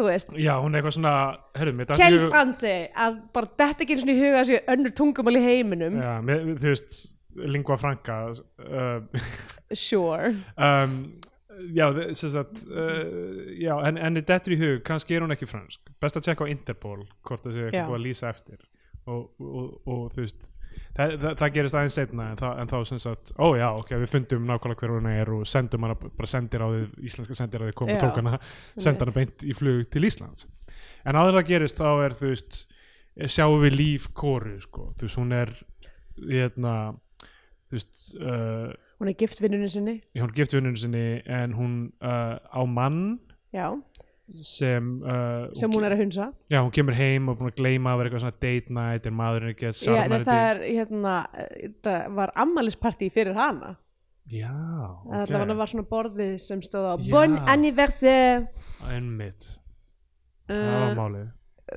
A: þú veist
B: já, hún er eitthvað svona Herru, mér datt í
A: Kel
B: hug-
A: Fransi að bara þetta ekki einu svona í huga þessi önnur tungumál í heiminum
B: Já, mér, þú veist, lingua franca uh,
A: Sure
B: um, Já, þe- sem sagt uh, Já, en, en dettur í hug Kannski er hún ekki fransk, best að tjekka á Interpol Hvort það sé
A: Já.
B: eitthvað búið að lýsa eftir og, og, og þú veist Það, það, það gerist aðeins seinna en, það, en þá sem sagt, ó já, ok, við fundum nákvæmlega hver hún er og sendum hana, bara sendir á því íslenska sendir á því koma
A: Já.
B: og tók hana senda hana beint í flug til Íslands en áður en það gerist þá er þú veist sjáum við líf kóru sko. þú veist hún er hérna, þú veist uh,
A: Hún er gift vinnunni sinni
B: hún er gift vinnunni sinni en hún uh, á mann
A: Já,
B: sem, uh,
A: sem hún er að hunsa
B: já, hún kemur heim og búin að gleyma að vera eitthvað svona date night en maðurinn er ekki að
A: Já, en
B: sarmar
A: það er hérna eh, Það var ammælispartí fyrir hana
B: já,
A: okay.
B: ok,
A: Allavega var svona borðið sem stóð á
B: Já.
A: Bon anniversaire
B: einmitt það var
A: uh,
B: málið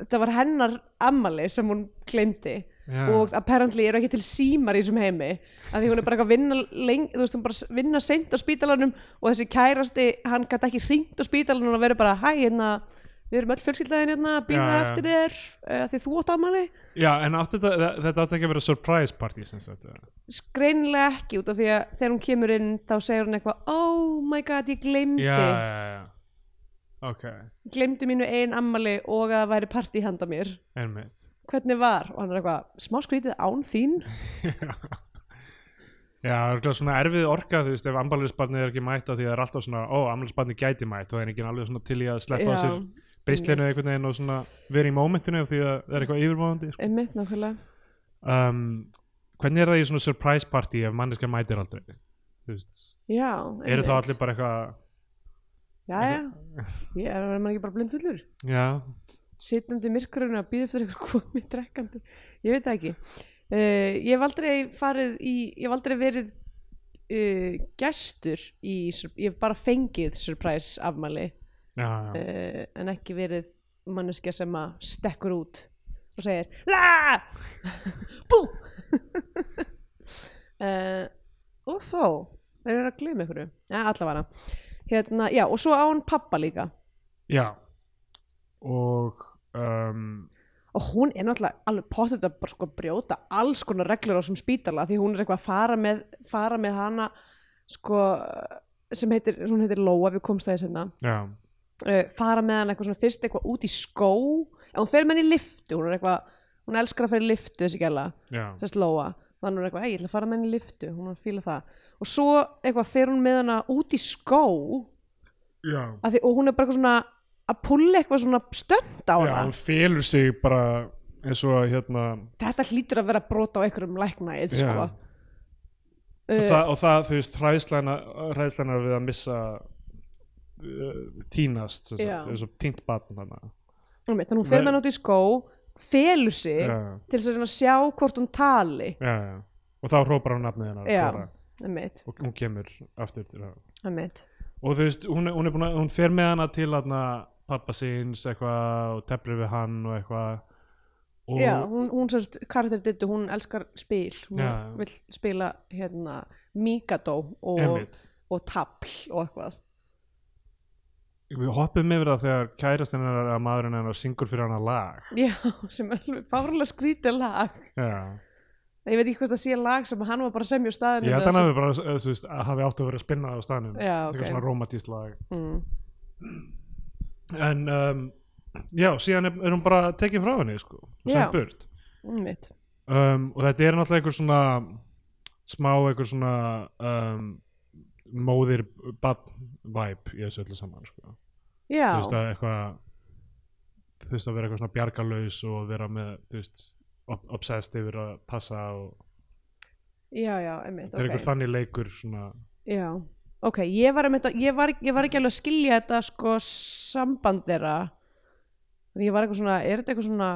A: Það var hennar ammæli sem hún gleymdi
B: Já.
A: og apparently eru ekki til símar í þessum heimi af því hún er bara eitthvað að vinna leng, þú veist hún bara s- vinna seint á spítalanum og þessi kærasti, hann gæti ekki hringt á spítalanum og verið bara, hæ, hérna við erum öll fjölskyldaðin hérna, býða
B: Já, já.
A: eftir þér uh, því þú átt afmæli
B: já, en átti þetta, þetta átti ekki að vera surprise party sem sagt eða?
A: greinilega ekki út af því að þegar hún kemur inn þá segir hún eitthvað, oh my god ég glemdi,
B: já, já, já, já ok
A: glemdi mínu ein ammæli og að það væri partí handa mér
B: Einmitt.
A: hvernig var, og hann er eitthvað, smá skrítið án þín
B: Já, örugglega svona erfið orka, þú veist, ef ambalisbarnið er ekki mætt á því það er alltaf svona, ó, ambalisbarnið gæti mætt og það er ekki alveg svona til í að sleppa
A: Já.
B: á sér beisleinu einhvern veginn og svona verið í mómentinu af því að það er eitthvað yfirmáðandi sko.
A: einmitt nákvæmlega
B: um, hvernig er það í svona surprise party ef manneska mætir aldrei Þú veist,
A: já,
B: eru þá allir bara eitthvað
A: já, já, ég er maður ekki bara blindfullur
B: já,
A: sittandi myrkurinn að býða eftir eitthvað komið drekkandi ég veit það ekki uh, ég hef aldrei farið í ég hef aldrei verið uh, gestur í sur- ég hef bara fengið surprise afmæli
B: já, já,
A: uh, en ekki verið manneskja sem að stekkur út og segir LA BÚ uh, og þó þeir eru að gleyma ykkur ja, allavega hérna, já, og svo á hann pappa líka
B: já. og um,
A: og hún er náttúrulega alveg pottet að bara sko brjóta alls konar reglur á þessum spítala því hún er eitthvað að fara með, fara með hana sko sem heitir, hún heitir Lóa, við komst það í senna
B: já,
A: uh, fara með hana eitthvað svona fyrst eitthvað út í skó en hún fer með henni í liftu hún er eitthvað, hún elskar að fara í liftu þessi gæla
B: já,
A: þess Lóa þannig hún er eitthvað, "Æ, ég ætla að fara með henni í liftu hún er að fíla það og svo eitthvað fer hún með hana út í skó
B: já.
A: af því, og hún er bara eitthvað svona að pulla eitthvað svona stönd á
B: Já,
A: hana
B: hann félur sig bara eins og hérna
A: þetta hlýtur að vera brot á einhverjum læknæð
B: Já.
A: sko. Uh,
B: og, það, og það, þú veist, hræðslana hræðslana við að missa uh, tínast sem
A: Já.
B: sagt, eins og tínt batn þarna
A: um, þannig hún fer
B: Nei.
A: með hann út í skó felur sig
B: já,
A: til þess að reyna að sjá hvort hún tali
B: já, já. og þá hrópar hún nafnið hennar
A: já,
B: Dora,
A: einmitt,
B: og hún kemur aftur til það
A: einmitt
B: og þú veist, hún, er- hún, er búin að, hún fer með hana til hana pappa síns eitthvað og teflir við hann og eitthvað og
A: já, hún, hún sérst, karakter dittu, hún elskar spil hún
B: Já.
A: vill spila hérna Mikado og,
B: einmitt
A: og Tapl og eitthvað
B: við hoppum yfir það þegar kærastinn hennar að maðurinn hennar syngur fyrir hana lag
A: já, sem er alveg fárlega skrítið lag
B: já.
A: ég veit ekki hvort það sé lag sem hann var bara að semja á staðinu
B: ég
A: með
B: held hann hafi bara, eh, þú veist, að hafi átt að vera að spinna það á stanum
A: Já, ok.
B: eitthvað svona romantískt lag
A: öll- mm.
B: en um, já, síðan er, er hún bara tekin frá henni sko, og
A: Já.
B: send burt
A: einmitt,
B: um, og þetta er náttúrulega einhver svona smá einhver svona um, móðir bad vibe í þessu öllu saman sko.
A: já
B: þú veist að eitthvað þú veist að vera eitthvað svona bjargalaus og vera með, þú veist ob- obsessed yfir að passa og
A: já, já, einmitt,
B: þetta er einhver þannig leikur svona,
A: Já, ok, ég var, einmitt, að- ég var, ég var ekki alveg að skilja þetta sko samband þeirra Þannig ég var eitthvað svona, er þetta eitthvað svona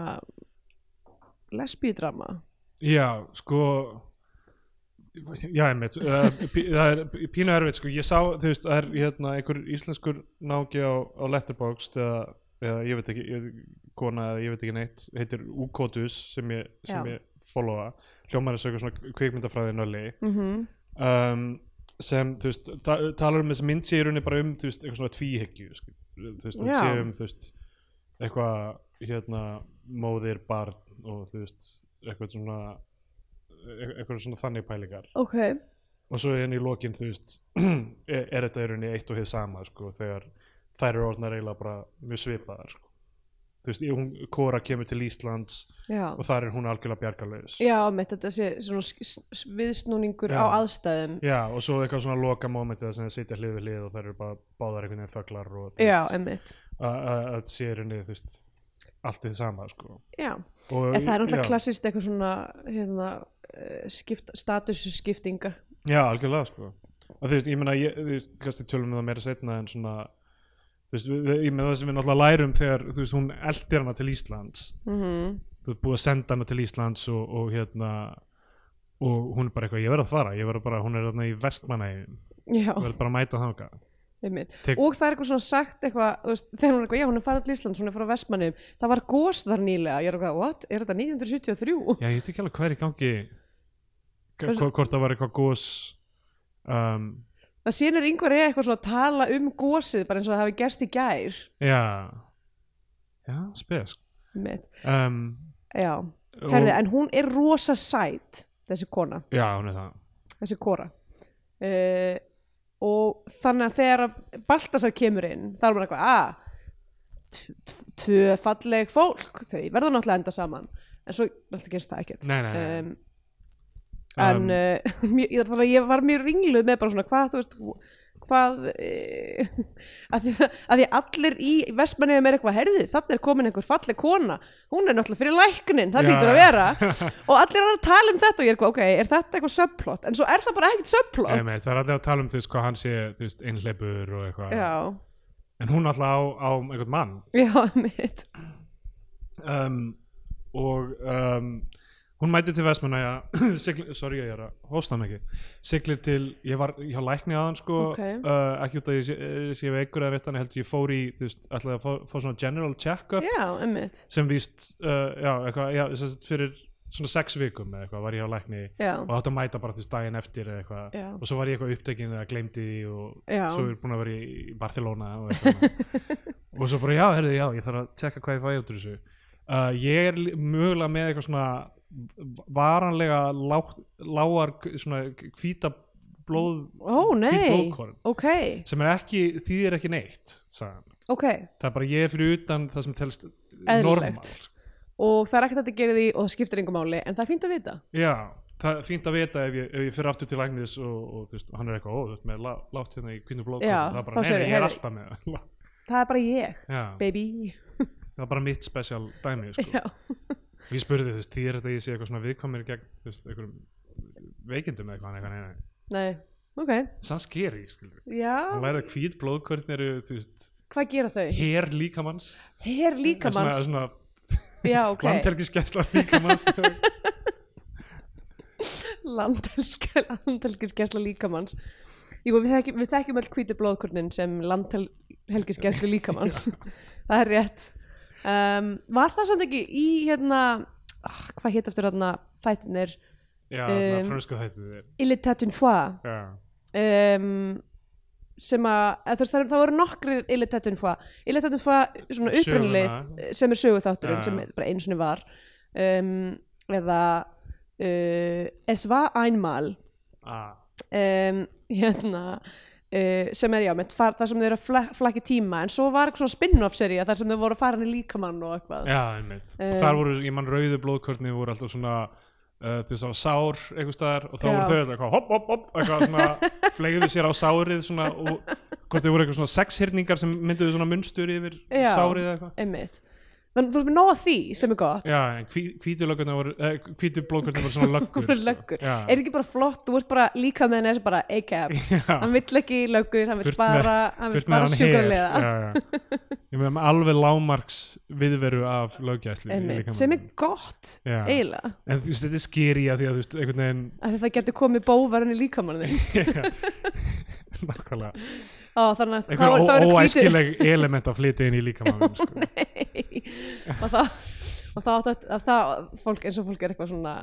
A: lesbíudrama?
B: Já, sko Já, einmitt uh, pí- það er pí- pínu erfitt, sko ég sá, þú veist, það er hérna einhver íslenskur nági á, á Letterboxd eða, eða ég veit ekki ég, kona, eða ég veit ekki neitt, heitir Ukotus sem ég, sem
A: Já.
B: ég followa hljómar er sögur svona kvikmyndafræði nölli
A: Mm -hmm.
B: um, sem, þú veist, ta talar um þessi mynd sé í rauninni bara um, þú veist, eitthvað svona tvíhyggju sko, þú veist, hann
A: Já.
B: sé um, þú veist eitthvað, hérna móðir, barn og, þú veist eitthvað svona e- eitthvað svona þannig pælingar
A: Ok,
B: og svo enn í lokin, þú veist er, er þetta í rauninni eitt og hið sama, sko, þegar þær eru orðnar eiginlega bara mjög svipaðar, sko þú veist, hún, Kora kemur til Íslands
A: já
B: og þar er hún algjörlega bjargalaus
A: Já, mitt, þetta sé svona sk- s- viðsnúningur
B: Já.
A: á aðstæðum
B: Já, og svo eitthvað svona loka mómentið sem þeir sitja hlið við hlið og þær eru bara báðar einhvern veginn þöglar og þú
A: Já,
B: veist,
A: einmitt
B: að að- að sé í rauninni, þú veist, allt þið sama, sko.
A: Já,
B: Og,
A: en það er náttúrulega
B: já.
A: klassist eitthvað svona hérna, eh, skipt, statusskiptinga
B: Já, algjörlega, sko. Og þú veist, ég meina, ég, þú veist, kannski tölum við það meira setna en svona, þú veist, við, ég meina það sem við náttúrulega lærum þegar, þú veist, hún eldir hana til Íslands,
A: mm
B: þú veist, búið að senda hana til Íslands og, og hérna, og hún er bara eitthvað, ég verð að fara, ég verð bara, hún er þarna í vestmanægjum,
A: Já,
B: ég verð bara að mæta þangað.
A: einmitt
B: Tek-
A: og það er eitthvað svona sagt eitthvað, þú veist, þegar hún er eitthvað, já hún er farin til Íslands, hún er frá Vestmannum það var gos þar nýlega, ég er eitthvað, what, er þetta 1973?
B: Já, ég veit ekki alveg hvað er í gangi hva-
A: Hversu-
B: hva- hvort það var eitthvað gos um,
A: Það sínur yngvar er eitthvað svona að tala um gosið bara eins og það hafi gerst í gær
B: Já Já, spesk
A: Einmitt.
B: um,
A: já,
B: og-
A: herði, en hún er rosa sæt þessi kona,
B: Já, hún er það
A: þessi kora uh, og þannig að þegar að Baltasar kemur inn, þá er maður eitthvað, að tvö falleg fólk, þau verða náttúrulega að enda saman en svo náttúrulega gerst það ekkert
B: Nei, nei, nei
A: um,
B: um,
A: uh, en um, ég, ég, var- ég var mjög ringluð með bara svona hvað þú veist hvað e, að, því, það- að því allir í vestmanniðum er eitthvað herðið, þannig er komin einhver falleg kona, hún er náttúrulega fyrir læknin það
B: Já.
A: hlýtur að vera og allir eru að tala um þetta og ég er eitthvað, ok, er þetta eitthvað subplot en svo er það bara ekkert subplot
B: Emi, það er allir að tala um þú veist hvað hann sé þú veist, einhleipur og eitthvað
A: já,
B: en hún alltaf á, á einhvern mann
A: já, mitt
B: um, og um, hún mæti til Vestmannaja sorry ég er að hósta mikið siglir til, ég var hjá lækni aðan sko,
A: Ok.
B: uh, ekki út að ég sé, eh, sé veikur eða neitt, þannig heldur ég fór í þú veist, ætlaði að fá, fá svona general check-up
A: já, mitt,
B: sem víst uh, já, eitthvað, já, sem sagt fyrir svona sex vikum eða eitthvað var ég á lækni
A: já
B: og átti að mæta bara þess daginn eftir eða eitthvað
A: Já.
B: og svo var ég eitthvað upptekinn eða gleymdi því og
A: Já.
B: svo er búin að vera í í Barcelona og eitthvað og svo bara já, herðu, já, ég þarf að tjekka hvað ég fæ út úr þessu uh, ég er lí- mögulega með eitthvað svona varanlega lá, lágar k- svona hvíta blóð
A: ó,
B: hvít
A: nei,
B: blóðkorn
A: ok
B: sem er ekki, þýðir ekki neitt sagðan.
A: ok,
B: það er bara ég er fyrir utan það sem telst
A: Eðlilegt.
B: normal
A: og það er ekkert að þetta gera því og það skiptir engum máli, en það er fínt að vita
B: Já, það er fínt að vita ef ég, ef ég fyrir aftur til læknis og, og þú veist, hann er eitthvað, ó, þú veist, með lá- látt hérna í kvinnu blóðkvæm,
A: Já,
B: það er
A: þá
B: bara, nei,
A: segirðu,
B: nei, ég er
A: heyrðu.
B: alltaf með það.
A: það er bara ég,
B: Já,
A: baby
B: það er bara mitt spesial dæmi, sko.
A: já,
B: Og ég spurði, þú veist, því er þetta að ég sé eitthvað svona viðkomir gegn, þú veist, einhverjum veikindum eða eitthvað, hann eitthvað, nei, nei.
A: nei, ok
B: Sann skeri, skilur.
A: já,
B: Hann læri að hvít blóðkvörn eru, þú veist,
A: hvað gera þau?
B: her líkamanns.
A: Her
B: Svona,
A: líkamanns,
B: svona
A: já,
B: okay.
A: ok
B: líkamanns.
A: landhelska, landhelgiskesla líkamanns Jú, við þekkjum, við þekkjum öll hvítu blóðkornin sem landhelgiskeslu líkamanns Það er rétt um, Var það samt ekki í hérna ah, hvað hétt eftir hérna þættinir
B: Já,
A: Um,
B: um, fransku þættið er,
A: Illi Tatun Foie
B: já.
A: um, sem að eða þú veist, það, eru- það voru nokkrir Illi Tatun Foie Illi Tatun Foie svona upprunalið
B: Söguna.
A: sem er söguþátturinn
B: Já.
A: sem bara einu sinni var um, eða uh, Es var einmal
B: Ah,
A: um, hérna Uh, sem er já, með far, þar sem þau eru að flak, flakki tíma en svo var eitthvað svona spin-off sería þar sem þau voru að fara henni líkamann og eitthvað
B: Já, einmitt.
A: Um,
B: og þar voru, ég mann, rauðu blóðkörni voru alltaf svona, uh, þú veist, það var sár einhvers staðar og þá
A: Já.
B: voru þau alltaf eitthvað hopp, hopp, hopp, eitthvað svona fleigðu sér á sárið svona og hvort þau voru eitthvað svona sexhyrningar sem mynduðu svona munstur yfir
A: Já.
B: sárið eða eitthvað.
A: einmitt þannig þú erum með nóg af því sem er gott
B: Já, en hví, hvítu löggurnar voru, eh, hvítu blóðkörni voru svona löggur. sko.
A: Þú löggur,
B: Já,
A: er ekki bara flott þú ert bara líka með henni þessi bara ACAB
B: já.
A: hann vill ekki löggur, hann vill
B: Burt með-
A: bara hann vill
B: Burt með
A: bara Ah,
B: hann her.
A: sjúkrarlega
B: Já, já. Ég meðan alveg lámarks viðveru af löggæslu. í
A: einmitt,
B: líkamanum.
A: sem er gott
B: Já.
A: eiginlega,
B: En þú veist, þetta er skýri að því að þú veist, einhvern veginn,
A: af því það getur komið bóvar henni líkamann þinn
B: nákvæmlega.
A: Ó, þannig að
B: einhver
A: þá- þá
B: ó-
A: eru hvítu-
B: óæskileg element að flytja inn í líkamann sko.
A: og þá og þá átt að- að það fólk eins og fólk er eitthvað svona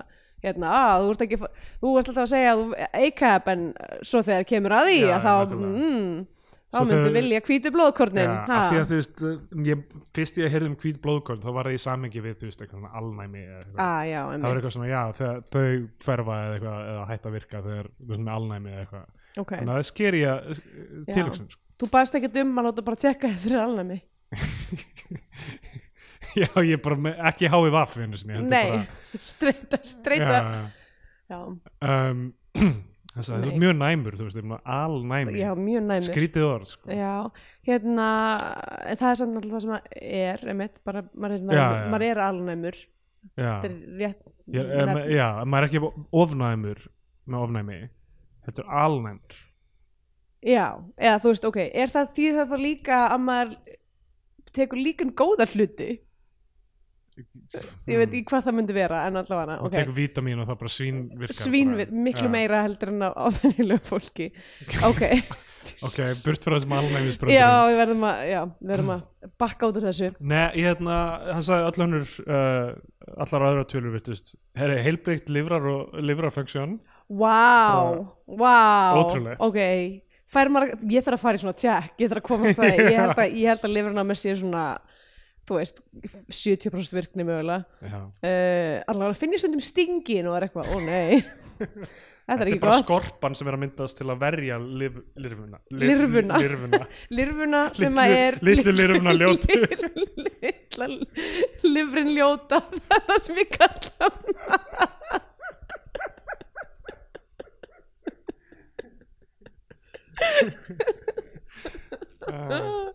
A: hérna, að þú ert ekki þú ert alltaf að segja að þú ACAB en uh, svo þegar kemur að því
B: Já,
A: að þá,
B: nákvæmlega.
A: mm, þá
B: Svo
A: myndu
B: þegar-
A: vilja hvítu blóðkornin
B: Já,
A: ha.
B: af því að þú veist ég, fyrst ég heyrði um hvít blóðkorn þá var það í samengi við þú veist eitthvað svona alnæmi eða eitthvað.
A: ah, já,
B: það var
A: einmitt,
B: eitthvað svona já þegar þau hverfa eða, eitthvað, eða hætta að virka þegar þú veist með alnæmi eða eitthvað
A: ok
B: þannig að það sker ég að tilöksun sko.
A: þú baðst ekki um að láta bara tjekka þér fyrir alnæmi
B: já ég bara með, ekki hái vaff einu sinni heldur
A: nei, streyta, streyta já,
B: bara,
A: já,
B: já, um, þess að þú
A: Nei.
B: ert mjög næmur þú veist ég er svona alnæmi
A: mjög næmur
B: skrítið orð sko.
A: Já, hérna en það er samt alltaf það sem að er einmitt, bara, maður er, næmur,
B: Já, já.
A: Maður er alnæmur
B: já.
A: þetta er rétt
B: Já, ef ma- já, ef maður er ekki ofnæmur með ofnæmi þetta er alnæmur
A: Já, eða þú veist, ok, er það því það þá líka að maður tekur líka um góða hluti? Ég veit ekki hvað það myndi vera, en allavega
B: og
A: ok.
B: tekur vítamín og það bara svínvirkar
A: Svínvið,
B: bara.
A: miklu
B: Já.
A: meira heldur en á ofennilegu fólki. Ok.
B: ok, burt frá þessum alnæmisbröndum
A: Já, við verðum að, já, við verðum að bakka út úr þessu.
B: Nei, ég hérna, hann sagði öll önnur uh, allar aðra tölur vittust herri, heilbreykt livrar og livrarfunksjón
A: Vá, vá.
B: ótrúlegt.
A: Ok, fær maður, ég þarf að fara í svona tjekk, ég þarf að komast það, ég held að, ég held að lifurinn á mér sé svona, þú veist, 70% virkni mögulega.
B: já.
A: uh, allavega finn ég stundum stingin og er eitthvað, ó nei þetta er
B: þetta
A: ekki
B: er bara
A: gott
B: skorpan sem er að myndast til að verja liv, lirfuna
A: Lirfuna.
B: lirfuna.
A: lirfuna sem
B: Litlu-
A: að er
B: litlu lirfuna ljótu.
A: litla lirfrin ljóta það er það sem ég kalla hana. um,
B: Ah.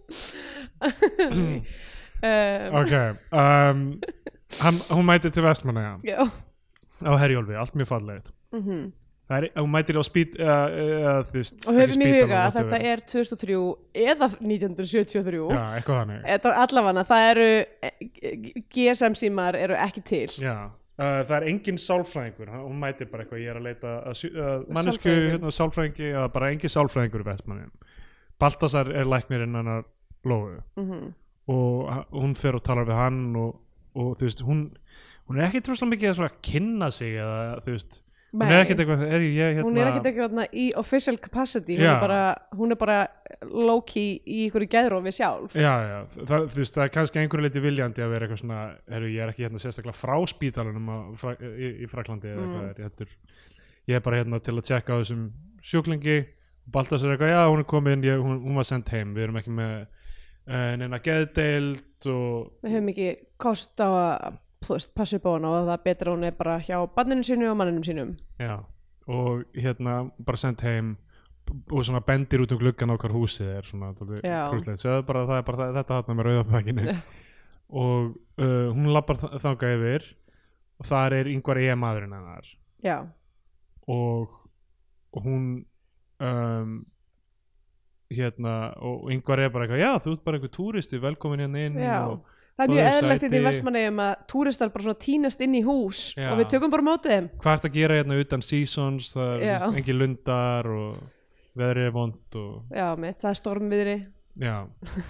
B: ok um, hann, hún mætir til vestmanna
A: já,
B: á Herjólfi, allt mjög fallegt
A: mhm
B: það er, hún mætir á spít uh, uh, þvist,
A: og höfum í huga að þetta er 2003 eða 1973
B: já, eitthvað þannig
A: Þetta er allavega, það eru eh, GSM símar eru ekki til
B: Já, uh, það er engin sálfræðingur hann- hún mætir bara eitthvað, ég er að leita að sjú- að mannesku,
A: Sálfræðingur.
B: hérna, sálfræðingi eða bara engin sálfræðingur í vestmannin Baltasar er læknirinn hennar Lóu
A: Mhm.
B: og h- hún fer og talar við hann og, og þú veist, hún hún er ekkit trúslega mikið að svona kynna sig eða þú veist, hún er
A: Nei.
B: ekkit eitthvað er ég hérna,
A: Hún er ekkert eitthvað þarna í official capacity hún
B: Já.
A: er, bara, hún er bara low-key í ykkur gæðrófi sjálf
B: Já, já, það, þú veist, það er kannski einhverju leiti viljandi að vera eitthvað svona, heru, ég er ekki hérna sérstaklega frá spítalunum á, fra, í, í Fraklandi
A: Mm.
B: eða eitthvað, er, ég, heldur, ég er bara hérna til að tjekka á þessum sjúklingi Baltasar er eitthvað, já, hún er komin ég, hún, hún var sendt heim, við erum ekki með uh, neina geðdeild og
A: Við höfum ekki kost á að þú veist, passa upp á hana og það er betra að hún er bara hjá banninu sínu og manninu sínum
B: já, og hérna bara sendt heim og svona bendir út um gluggan á hvar húsið er svona
A: Já.
B: krúslegt, það er bara, það er bara það, þetta hann með rauðafækinu og uh, hún lappar þa- þangað yfir og þar er yngvar eiga maðurinn hennar
A: Já,
B: og, og hún um, hérna og yngvar er bara eitthvað, já þú ert bara einhver túristi velkomin hérna inn
A: Já.
B: og
A: það er
B: Fáðu
A: mjög
B: þér
A: eðlilegt
B: sæti.
A: þetta í vestmannegjum að túristar bara svona tínast inn í hús
B: Já.
A: og við tökum bara á mótið þeim
B: hvað ert að gera hérna utan seasons það er
A: Já.
B: yeah. engin lundar og veðrið er vond og
A: Já, mitt, það er stormviðri
B: já,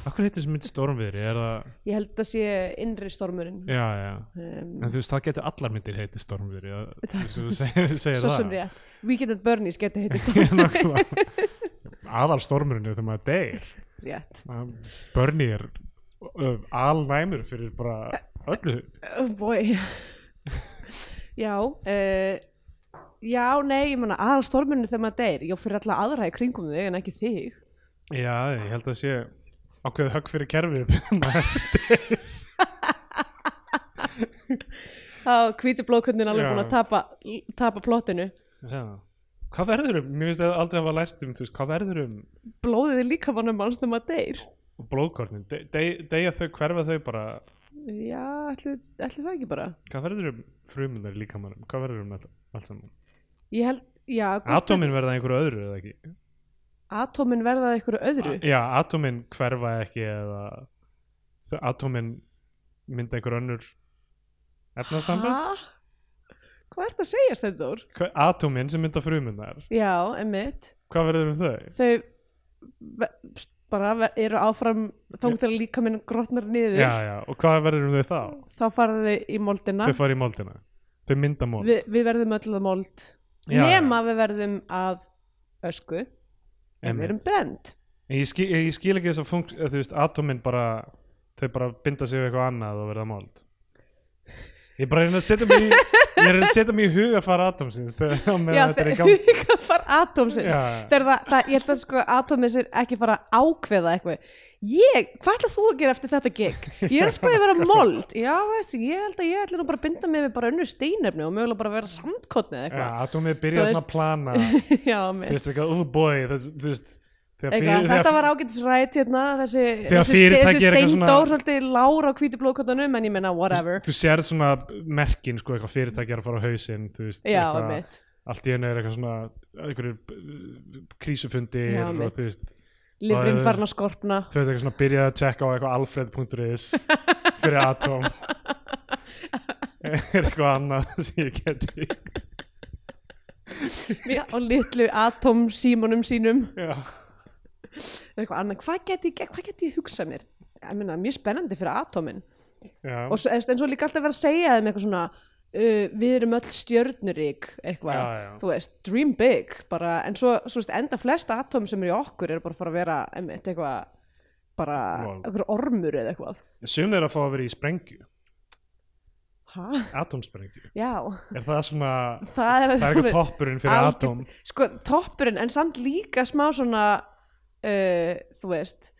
B: akkur heitir þessi mynd stormviðri er það,
A: Ég held að sé innri stormurinn
B: já já
A: um,
B: en þú veist það getur allar myndir heiti stormviðri það, þú veist, þú segir, segir
A: Svo
B: það
A: sem rétt Weekend at Bernie's geti heitist
B: aðal stormurinn er þegar maður deyr
A: rétt
B: Um, Bernie er uh, alnæmur fyrir bara öllu
A: oh boy Já uh, Já, nei, ég manna aðal stormurinn er þegar maður deyr Já, fyrir alla aðra í kringum þig en ekki þig
B: Já, ég held að sé ákveðið högg fyrir kerfið Maður-
A: Þá hvíti blóðkundin alveg
B: Já.
A: búin að tapa, tapa plottinu
B: Já. Hvað verður um, mér finnst að aldrei hafa lært um þú veist, hvað verður um
A: Blóðið er líka mannum manns þegar maður deyr
B: blóðkornin De- dey- deyja þau, hverfa þau bara
A: Já, ætli, ætli það ekki bara
B: hvað verður um frumundar líka mannum hvað verður um þetta, allt saman
A: Ég held, já, Gústi-
B: Atómin verða einhverju öðru eða ekki
A: Atómin verða að einhverju öðru
B: Já, atómin hverfa ekki eða þau- atómin mynda einhver önnur efnasamband
A: Ha? Hvað ert að segja, Stendur?
B: Hva- Atómin sem mynda frumundar
A: Já, emmitt
B: Hvað verður um þau?
A: þau ve- bara ve- eru áfram þóngt til að líka minn grotnar niður
B: Já, já, og hvað verður um þau þá?
A: þá fara þau í moldina
B: Þau fara í moldina Þau mynda mold
A: Vi, við verðum öll að mold
B: Já,
A: nema við verðum að ösku en
B: Einmitt.
A: við erum brend
B: En ég, skil, ég skil ekki þess að funkt, eða þú veist, atómin bara þau bara binda sig við eitthvað annað og verða mold Ég bara reyna að setja mig í ég reyna að setja mig í hugarfara atómsins þegar á meðan
A: Já,
B: þetta er í gangi
A: það fara atómsins
B: Já.
A: það er það, það, ég held að sko atómið sér ekki fara að ákveða eitthvað ég, hvað ætla þú að gera eftir þetta gig? ég er að spæði að vera mold já, veist, ég held að ég ætla nú bara að binda mig við bara önnu steinefni og mögulega bara að vera samtkotni eða
B: Já,
A: eitthvað
B: atómið
A: Þú
B: byrja svona að plana þú
A: já, já
B: veist, eitthvað, oh boy, þess, þú veist þegar
A: Eitthvað,
B: fyrir-
A: þetta
B: þegar-
A: var ágætis rætt hérna þessi,
B: Þegar
A: þessi, ste-
B: fyrirtæki
A: þessi
B: er eitthvað
A: steindór
B: svona-
A: svolítið lára á hvítu blóðkottanum en ég menna whatever
B: þú sér svona merkin, sko, eitthvað fyrirtæki er að fara á hausinn, þú veist
A: já,
B: eitthvað-
A: mitt,
B: allt í henni er eitthvað svona einhverjir eh, krísufundir
A: Já,
B: og
A: mitt.
B: þú veist,
A: lifrin
B: Já,
A: farin að skorpna
B: þú veist eitthvað svona byrja að tjekka á eitthvað alfred.is fyrir atóm er eitthvað annað sem ég geti
A: já, og litlu atomsímonum sínum
B: já,
A: eitthvað annað, hvað geti, ég- hvað geti ég hugsað mér ég menna, mjög spennandi fyrir atomin
B: já,
A: og svo, eða, en svo líka alltaf verið að segja þeim eitthvað svona uh, við erum öll stjörnurík eitthvað,
B: Já, já.
A: þú veist, dream big bara, en svo, svo veist, enda flesta atom sem eru í okkur eru bara að fara að vera einmitt, eitthvað, bara,
B: Lol.
A: einhver ormur eða eitthvað
B: sum þeirra fá að vera í sprengju
A: Hæ?
B: atómsprengju,
A: Já,
B: er það svona
A: það er,
B: það er eitthvað toppurinn fyrir
A: Algjör-
B: atóm
A: Sko, toppurinn, en samt líka smá svona, uh, þú veist,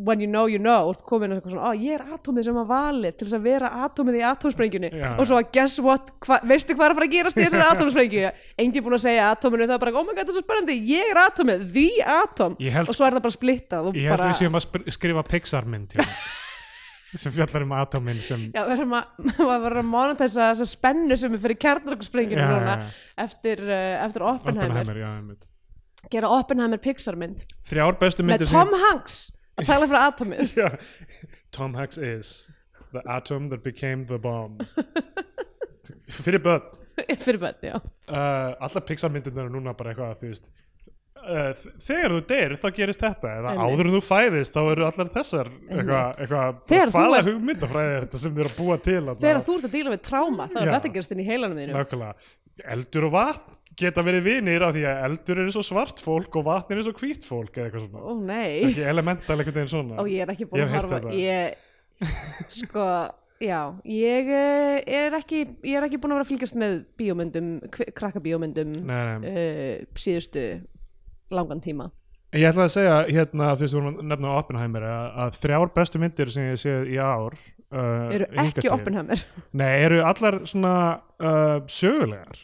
A: when you know you know, ert komin og eitthvað svona, ó ég er atómið sem að valið til þess að vera atómið í atómsprengjunni
B: Já,
A: og svo að guess what, hva, veistu hvað er að fara að gerast í þessari atómsprengju, enginn búin að segja atóminu það er bara, oh my god það er svo spennandi, ég er atómið the atóm,
B: Ég held-
A: og svo er það bara splittað og
B: Ég held
A: bara,
B: við séum að spr- skrifa Pixar mynd hérna, sem fjallar um atómin sem
A: já, við erum að maður verður að monetæsa þessa spennu sem er fyrir kjarnarkosprengjunni
B: Já,
A: núna
B: já, já.
A: eftir, uh, eftir Oppenheimer,
B: Oppenheimer, já, einmitt.
A: gera Oppenheimer Pixarmynd
B: Þrjár bestu
A: með
B: myndir
A: Tom Hanks að tala fyrir atómið
B: sem já, Tom Hanks is the atom that became the bomb Fyrir börn
A: fyrir bönn, já
B: uh, allar Pixar myndirnar eru núna bara eitthvað þú veist Uh, þegar þú deyr þá gerist þetta eða
A: Einmitt.
B: áður en þú fæðist þá eru allar þessar eitthvað, eitthvað
A: Þegar þú
B: hvaða
A: ert-
B: hugmyndafræði er þetta sem þau eru að búa til að
A: þegar þú ert að díla með tráma þá er
B: Já.
A: þetta gerast inn í heilanum þínu
B: nákvæmlega eldur og vatn geta verið vinir af því að eldur er eins og svart fólk og vatn er eins og hvít fólk eða eitthvað svona
A: ó nei,
B: ekki elemental einhvern veginn svona
A: ó ég er ekki búin
B: Ég
A: að
B: hef heyrt
A: harfa
B: þetta.
A: ég, sko já, ég eh, er ekki ég er ekki búin að vera að fylgjast með bíómyndum kv- krakkabíómyndum
B: nei, nei.
A: uh, síðustu langan tíma
B: Ég ætlaði að segja hérna fyrst þú vorum að nefna Oppenheimer að, að þrjár bestu myndir sem ég séð í ár uh,
A: eru
B: hingað
A: ekki
B: til-
A: Oppenheimer
B: Nei, eru allar svona uh, sögulegar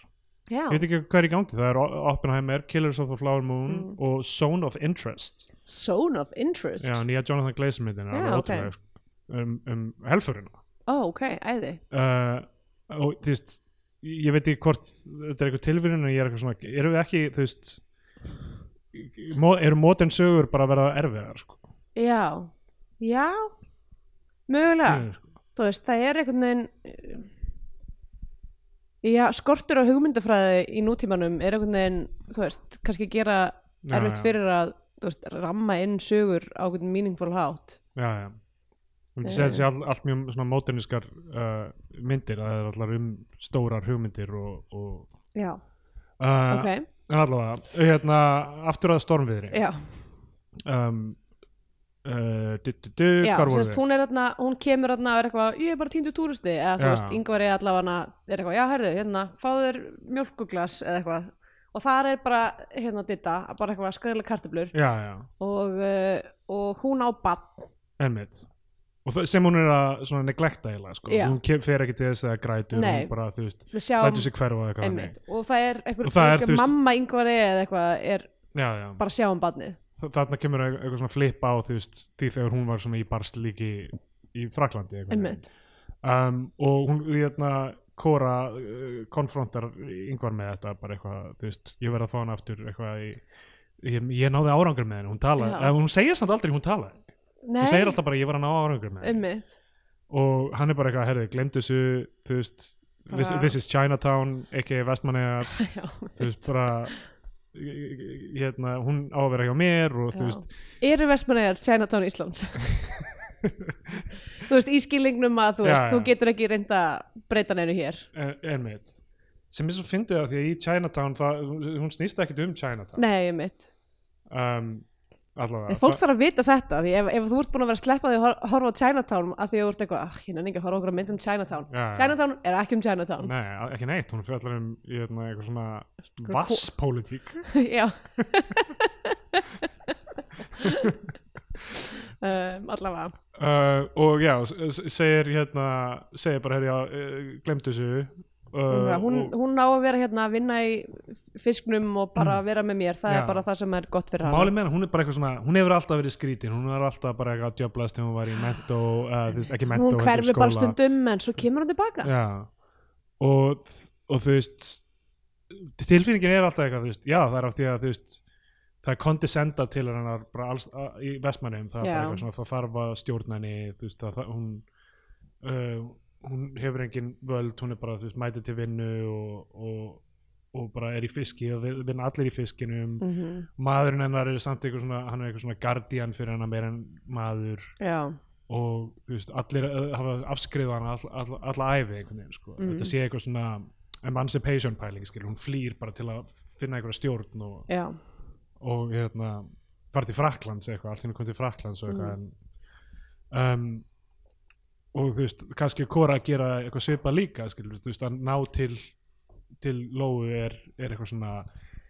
A: já,
B: Ég veit ekki hvað er í gangi, það er O- Oppenheimer, Killers of the Flower Moon
A: Mm.
B: og Zone of Interest
A: Zone of Interest
B: Já, nýja Jonathan Glazer myndin
A: Já,
B: alveg
A: ok.
B: ótrúleg, sko, um, um helfurina
A: ó ok, æði
B: uh, og þú veist ég veit ekki hvort þetta er eitthvað tilvíðin en ég er eitthvað svona, erum við ekki þú veist mo- eru mótin sögur bara að verða erfiðar sko.
A: já, já mögulega
B: Mm, sko.
A: þú veist, það er einhvern veginn eh, já, skortur á hugmyndafræði í nútímanum er einhvern veginn, þú veist, kannski gera
B: Já,
A: erfitt
B: já.
A: fyrir að þú veist, ramma inn sögur á einhvern meaningful hátt
B: já, já Ég myndi
A: Eh.
B: segja að það sé all, allt mjög svona móterniskar uh, myndir, að það er allar um stórar hugmyndir og, og
A: já,
B: uh,
A: ok,
B: en allavega, hérna aftur að stormviðri
A: já,
B: um, uh, du, du, du,
A: já
B: hvar voru
A: sérst, hún er þarna, hún kemur þarna og er eitthvað, ég er bara týndu túristi eða þú
B: Já.
A: veist, yngvar er allavega er eitthvað, já, herðu, hérna, fáðu þér mjölkuglas eða eitthvað, og þar er bara hérna ditta, bara eitthvað skræðilega kartöblur
B: Já, já,
A: og, uh, og hún á bann
B: einmitt og það, sem hún er að svona neglekta eiginlega sko.
A: Já.
B: hún kem, fer ekki til þess að grætur
A: Nei.
B: hún bara, þú veist,
A: við sjáum
B: lætur sig hverfa eða eitthvað
A: einmitt, og það er einhver,
B: Og það er,
A: einhver
B: þú veist-
A: mamma yngvar eða eitthvað er
B: þannig. já, já.
A: bara að sjá um badnið
B: Þa- þarna kemur eitthvað, eitthvað svona flip á þú veist, því þegar hún var svona í barslíki í Fraklandi
A: einmitt,
B: um, og hún hérna Kóra uh, konfrontar yngvar með þetta bara eitthvað, þú veist, ég verð að fá hann aftur eitthvað í, ég, ég náði árangur með henni hún talaði,
A: Já.
B: eða hún segir samt aldrei hún talaði
A: nei,
B: hún segir alltaf bara ég var að ná árangur með henni
A: einmitt
B: og hann er bara eitthvað, herri, glemt þessu þú veist, this,
A: Bara-
B: this is Chinatown ekki Vestmannegar
A: já,
B: þú veist, bara hérna, hún á að vera hjá mér og þú
A: já.
B: veist,
A: eru vestmannegar Chinatown Íslands þú veist, í skilningnum að þú,
B: Já,
A: veist,
B: já.
A: þú getur ekki reynda breyta neinu hér
B: En- Einmitt sem er svo fyndið af því að í Chinatown það, hún- hún snýst ekkert um Chinatown
A: nei, einmitt,
B: um, allavega
A: nei, fólk þarf að vita þetta því ef, ef þú ert búin að vera að sleppa því að hor- horfa á Chinatown af því að þú ert eitthvað, "Ah, ég nenni ekki að horfa okkur að mynd um Chinatown
B: Já, já.
A: Chinatown er ekki um Chinatown
B: Nei, ekki neitt, hún fjallar um hérna, eitthvað svona vasspólitík
A: já um, allavega
B: uh, og já, s- s- segir hérna, segir bara, herri, já, uh, glemdu þessu uh,
A: Nákvæmlega, hún,
B: og
A: hún á að vera hérna að vinna í fisknum og bara vera með mér það
B: Mm. Já.
A: er bara það sem er gott fyrir
B: málið
A: hann
B: með hana, hún er bara eitthvað svona hún hefur alltaf verið skrítin, hún er alltaf bara eitthvað að djöblast þegar hún var í mentó, uh, þú veist, ekki mentó
A: hún hverfi bara stundum en svo kemur hún tilbaka
B: já. Og, og þú veist tilfinningin er alltaf eitthvað þú veist, já það er af því að þú veist það er kondisenda til hennar bara alls, að, í vestmannum, það er bara
A: Já.
B: eitthvað svona það þarf að stjórna henni, þú veist að það, hún uh, hún hefur engin völd, hún er bara, þú veist, mæti til vinnu og, og, og bara er í fiski og vi- vinna allir í fiskinum
A: mm
B: maðurinn hennar er samt eitthvað svona hann er eitthvað svona guardian fyrir hennar meira en maður
A: já,
B: og þú veist, allir uh, hafa afskriðað hann all, all, alla æfi einhvern veginn sko.
A: Mm.
B: þetta sé eitthvað svona emancipation pæling skil, hún flýr bara til að finna einhverja stjórn og,
A: já,
B: og hérna fara til Fraklands eitthvað, allt henni kom til Fraklands og
A: Mm.
B: eitthvað en, um, og þú veist, kannski Kora að gera eitthvað svipa líka skilur, þú veist, að ná til til Lóu er, er eitthvað svona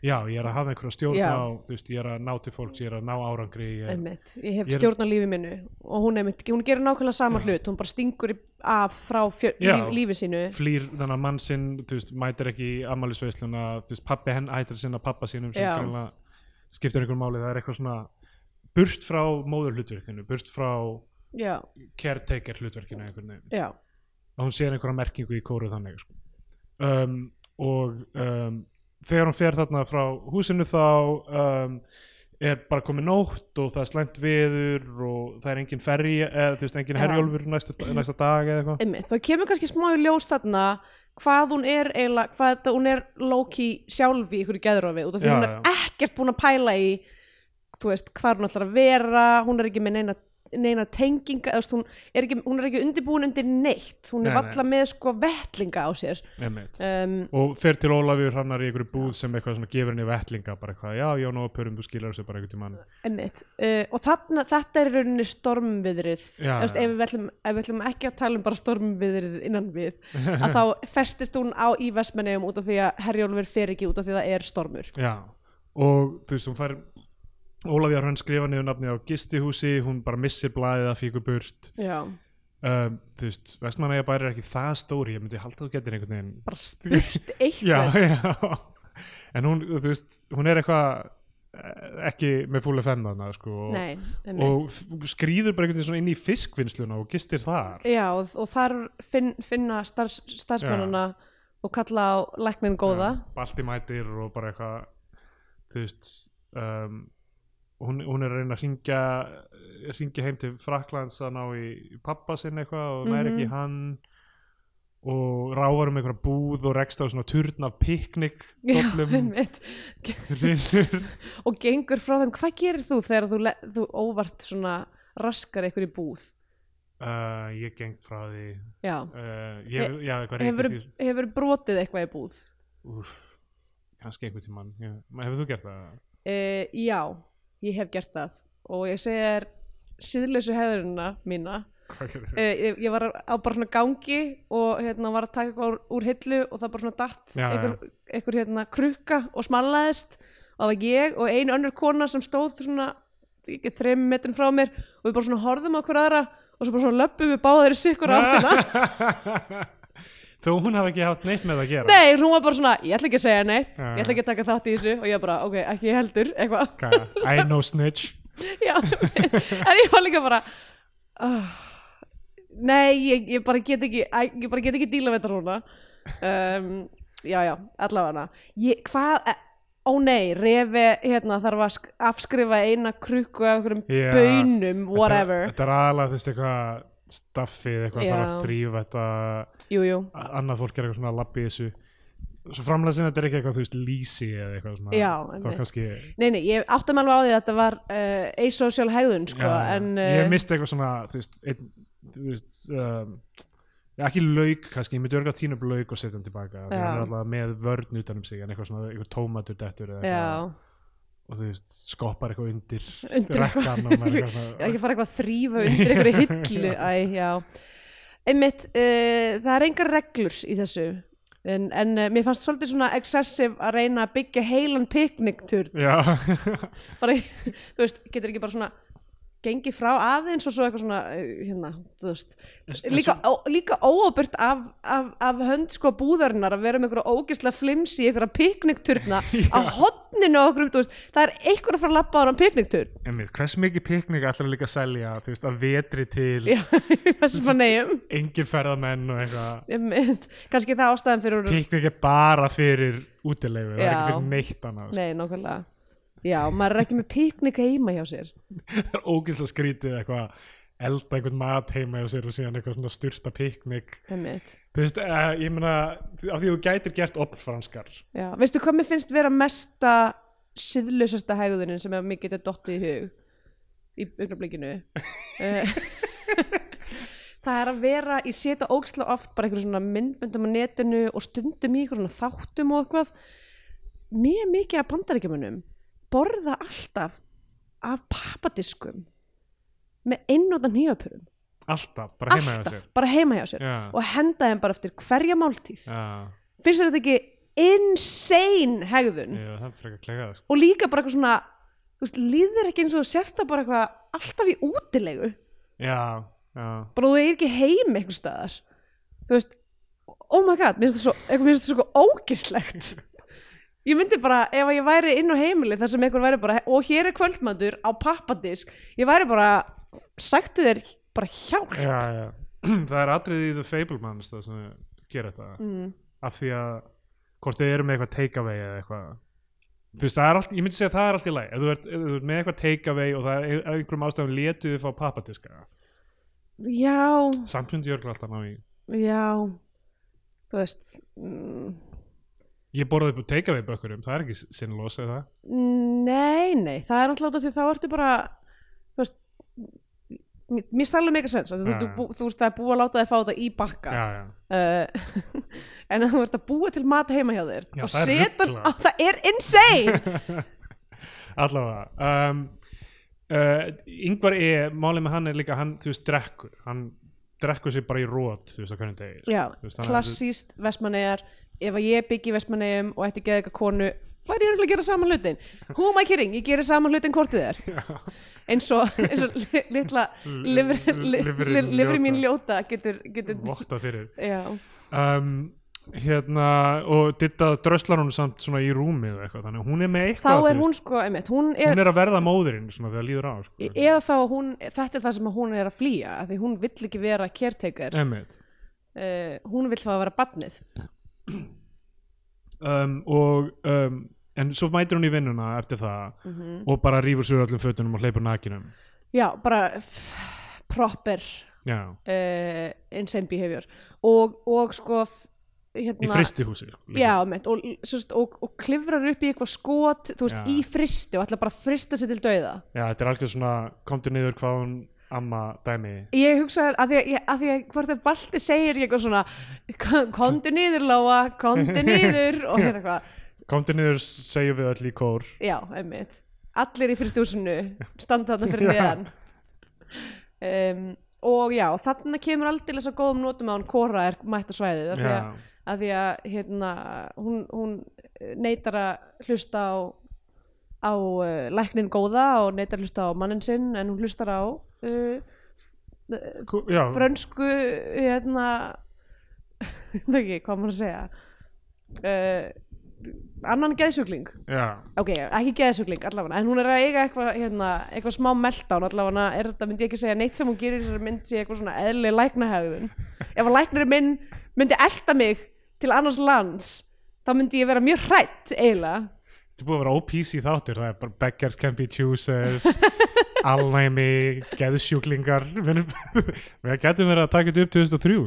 B: já, ég er að hafa einhverja stjórn
A: Já.
B: á þú veist, ég er að ná til fólks, ég er að ná árangri ég er,
A: einmitt, ég hef
B: Ég er-
A: stjórn á lífi minu og hún, einmitt, hún gerir nákvæmlega sama hlut hún bara stingur í- af frá fjör,
B: Já.
A: líf, lífi sínu
B: flýr þannig að mann sinn, þú veist, mætir ekki í ammælisveisluna, þú veist, pappi henn ættir að sinna pappa sínum sem
A: Já.
B: kannan skiptir einhver máli, það er eitthvað svona burt frá móður hlutverkinu, burt frá
A: já,
B: caretaker hlutverkinu einhvern veginn
A: já,
B: að hún sér einhverja merkingu í kóru þannig sko. um, og um, þegar hún fer þarna frá húsinu þá um, er bara komið nótt og það er slæmt veður og það er engin ferri eða þú veist engin
A: Já.
B: herjólfur næsta, næsta dag eða eitthvað
A: einmitt þá kemur kannski smá í ljós þarna hvað hún er eiginlega, hvað þetta, hún er Loki sjálf í ykkur geðrofi út af því
B: Já,
A: hún er
B: já.
A: ekkert búin að pæla í þú veist, hvað hún ætlar að vera hún er ekki með neina, neina tenginga eða, þú veist, hún, er ekki, hún er ekki undirbúin undir neitt hún er
B: Nei, nei.
A: valla með sko vettlinga á sér
B: Einmitt.
A: um,
B: og fer til Ólafur hannar í einhverju búð sem eitthvað svona gefur henni vettlinga bara eitthvað, já, já, nóg pörum, þú skilar þessu bara einhvern tímann
A: Einmitt. Uh, og þarna, þetta er í rauninni stormviðrið
B: Já,
A: Efst,
B: já.
A: ef, við ætlum, ef við ætlum ekki að tala um bara stormviðrið innan við að þá festist hún á í vestmennum út af því að Herjólfur fer ekki út af því að það er stormur
B: Já, og þú veist, hún fær Ólafjár hann skrifa niður nafni á gistihúsi, hún bara missir blaðið að fíku burt
A: Já.
B: um, þú veist, vestmannaðja er ekki það stóri ég myndi halda að þú getur einhvern veginn
A: bara spurt
B: já,
A: eitthvað
B: já, en hún þú veist, hún er eitthvað eh, ekki með fúlega fennan sko, og,
A: Nei, einmitt.
B: og f- skrýður bara einhvern veginn svona inn í fiskvinnsluna og gistir þar
A: Já, og, og þar finn, finna starfs, starfsmennuna og kalla á læknin góða
B: balti mætir og bara eitthvað þú veist um, hún, hún er að reyna að ringja ringja heim til Fraklands að ná í, í pappa sinn eitthvað og næri
A: Mhm.
B: ekki í hann og ráfar um einhverja búð og rekst á svona turn af piknik dollum
A: einmitt.
B: rinnur
A: og gengur frá þeim hvað gerir þú þegar þú, le- þú óvart svona raskar eitthvað í búð
B: uh, ég geng frá því
A: Já,
B: uh, ég, já, eitthvað
A: hefur,
B: reykist í
A: hefur brotið eitthvað í búð
B: Úf, kannski einhvern tímann já. Ma- hefur þú gert það?
A: uh, já, ég hef gert það og ég segi þér síðlausu hefðurina mína
B: Hvað gerðirðu?
A: uh, ég, ég var á bara svona gangi og hérna var að taka eitthvað úr, úr hillu og það bara svona datt
B: Já,
A: einhver, einhver hérna krukka og smallaðist og það var ég og einu önnur kona sem stóð svona ekki, þreim metrin frá mér og við bara svona horfðum á hver aðra og svo bara svona löppum við báðir í sikkur áttina
B: þó hún hafði ekki haft neitt með það að gera
A: Nei, hún var bara svona, ég ætla ekki að segja neitt
B: Já.
A: ég ætla ekki að taka þátt í þessu og ég bara, ok, ekki ég heldur, eitthvað
B: Nei. I know snitch
A: Já, en ég var líka bara oh, Nei, ég, ég bara get ekki æ, ég bara get ekki díla við þetta svona um, Já, já, allavega ég, Hvað, eh, ó nei Refi, hérna, þarf að sk- afskrifa eina krukku af einhverjum
B: Já.
A: bönum, whatever
B: þetta, þetta er aðalega þú veist eitthvað staffið eitthvað
A: Já.
B: þarf að þrýfa þetta
A: Jú, jú,
B: annað fólk er eitthvað svona að labbi í þessu svo framlæsin þetta er ekki eitthvað þú veist lýsi eða eitthvað svona
A: Já,
B: þá
A: einmitt.
B: kannski
A: nei, nei, ég átti mig alveg á því að þetta var uh, asocial hegðun, sko
B: Já,
A: en,
B: ég misti eitthvað svona þú veist, einn, þú veist um, já, ekki lauk kannski, ég myndi örgulega tína upp lauk og setja hann tilbaka því
A: Já.
B: hann er alltaf með vörn utan um sig en eitthvað svona, eitthvað tómatur dettur eða eitthvað
A: Já,
B: og þú veist, skoppar eitthvað undir,
A: Undir eitthvað.
B: rekkan og maður er
A: Ég er
B: eitthvað svona
A: ekki að fara eitthvað að þrýfa undir einhverju hillu Æ, já Einmitt, uh, það er engar reglur í þessu En, en uh, mér fannst svolítið svona excessive að reyna að byggja heilan pikniktur
B: já,
A: bara, í- þú veist, getur ekki bara svona gengið frá aðeins og svo eitthvað svona eh, hérna, þú veist
B: en
A: líka, ó, líka óábyrgt af, af, af hönd sko búðarinnar að vera með einhverja ógisla flimsi í einhverja piknikturna á hotninu og okkur, þú veist það er einhver að fara að labba á hann pikniktur
B: Einmitt, hvers mikið piknik ætlar líka að selja þú veist, að vetri til
A: já, þessum að neyjum
B: engin ferðamenn og eitthvað
A: Einmitt. kannski það ástæðan fyrir
B: piknik er bara fyrir útilegu, það er
A: Já.
B: ekki fyrir neitt annað sko.
A: nei, nákvæmlega já, maður er ekki með píknik heima hjá sér
B: það er ógæslega skrítið eitthvað að elda einhvern mat heima og sér og síðan eitthvað svona styrta piknik
A: Einmitt.
B: þú veist, uh, ég meina af því þú gætir gert opnfranskar
A: já. veistu hvað mér finnst vera mesta síðlausasta hegðunin sem að mér getur dottið í hug í augnablikinu Eh, það er að vera ég seta ógislega oft bara einhverjum svona myndböndum á netinu og stundum í einhverjum svona þáttum og eitthvað mjög mikið af bandaríkjumunum borða alltaf af pappadiskum með einnótan hýjapurum
B: alltaf, bara heima hjá
A: alltaf,
B: sér
A: bara heima hjá sér
B: Já.
A: og henda þeim bara eftir hverja máltíð
B: Já,
A: finnst þér þetta ekki insane hegðun
B: Já, það er frekar klegað sko.
A: og líka bara eitthvað svona þú veist, líður ekki eins og þú sért það bara eitthvað alltaf í útilegu
B: Já, já,
A: bara þú er ekki heim einhver staðar þú veist, oh my god mér finnst það svo, eitthvað, mér finnst það svo ógislegt ég myndi bara, ef ég væri inn á heimili þar sem einhver væri bara og hér er kvöldmatur á pappadisk ég væri bara, sagtu þér bara hjálp
B: já, já. Það er atriði í The Fablemans það sem gera þetta mm. af því að hvort þið eru með eitthvað takeaway eða eitthvað þú veist, það er allt, ég myndi segja að það er allt í lagi ef þú ert, ef þú ert með eitthvað takeaway og það er af einhverjum ástæðum létið þið fá pappadiska
A: já,
B: samt myndi ég örugglega alltaf ná í
A: já þú veist mm,
B: ég borði upp takeaway bökkurum, það er ekki sinnlós eða það
A: nei, nei, það er náttúrulega út af því þá ertu bara þú veist mér- mér stælum mega sens þú,
B: Já,
A: þú,
B: já.
A: þú, þú veist, það er búið að láta þið fá þetta í bakka
B: Mm. já, já,
A: uh, en að þú ert að búa til mat heima hjá þér
B: Já,
A: og
B: það er
A: setan
B: ruglað.
A: á það er insane
B: allavega um, uh, yngvar E, málið með hann er líka hann, þú veist, drekkur hann drekkur sér bara í rót, þú veist, á hvernig degir
A: já,
B: Þú veist, hann-
A: klassíst vestmannegar ef að ég byggi vestmannegjum og ætti geða eitthvað konu hvað er ég örugglega að gera saman hlutin? Who am I kidding? Ég gerir saman hlutin kortið þér eins og, eins og li- litla lifri, li-
B: Lifrin
A: li- lifri mín ljóta getur, getur
B: votta fyrir
A: já,
B: um, hérna og Ditta dröslar hún samt svona í rúmið og eitthvað, þannig að hún er með
A: þá
B: eitthvað
A: er
B: þú veist.
A: hún sko, einmitt, hún er
B: hún er að verða móðurinn svona þegar líður á sko.
A: eða þá að hún, þetta er það sem að hún er að flýja af því hún vill ekki vera caretaker uh,
B: Einmitt.
A: hún vill þá að vera badnið
B: um, og um, en svo mætir hún í vinnuna eftir það
A: Mhm.
B: og bara rýfur sér öllum fötunum og hleypur nakinum
A: já, bara f- proper
B: já,
A: uh, insane behavior og, og sko f-
B: í
A: hérna,
B: fristihúsi sko, líka.
A: já, mitt, og, sérst, og, og klifrar upp í eitthvað skot þú veist,
B: Já.
A: í fristi og ætla bara að frista sér til dauða
B: já, þetta er algjör svona komdu niður hvað hún amma dæmi
A: ég hugsaði að því að, ég- að, því að hvort þau balti segir ekki eitthvað svona "Ko- komdu niður Lóa, komdu niður og hérna eitthvað,
B: komdu niður segjum við öll í kór
A: já, einmitt allir í fristúsinu standa þarna fyrir neðan um, og já, þarna kemur aldrei þess að góðum notum að hann kora er mætt á svæðið af því að
B: já,
A: að því að hérna, hún, hún neytar að hlusta á, á uh, læknin góða og neytar að hlusta á mannin sinn en hún hlustar á uh,
B: Kú- já,
A: frönsku hérna ég veit ekki hvað maður að segja uh, annan geðsjúkling
B: já,
A: ok, ekki geðsjúkling allavega en hún er að eiga eitthvað hérna, eitthvað smá meltdown allavega er þetta myndi ég ekki segja neitt sem hún gerir í þessari mynd sé eitthvað svona eðlileg læknahæðun ef að læknari minn myndi elta mig til annars lands þá myndi ég vera mjög hrætt eiginlega
B: Þetta er búið að vera OPC þáttur, það er bara beggars can be choosers, alnæmi, geðsjúklingar, við við getum verið að taka þetta upp 2003.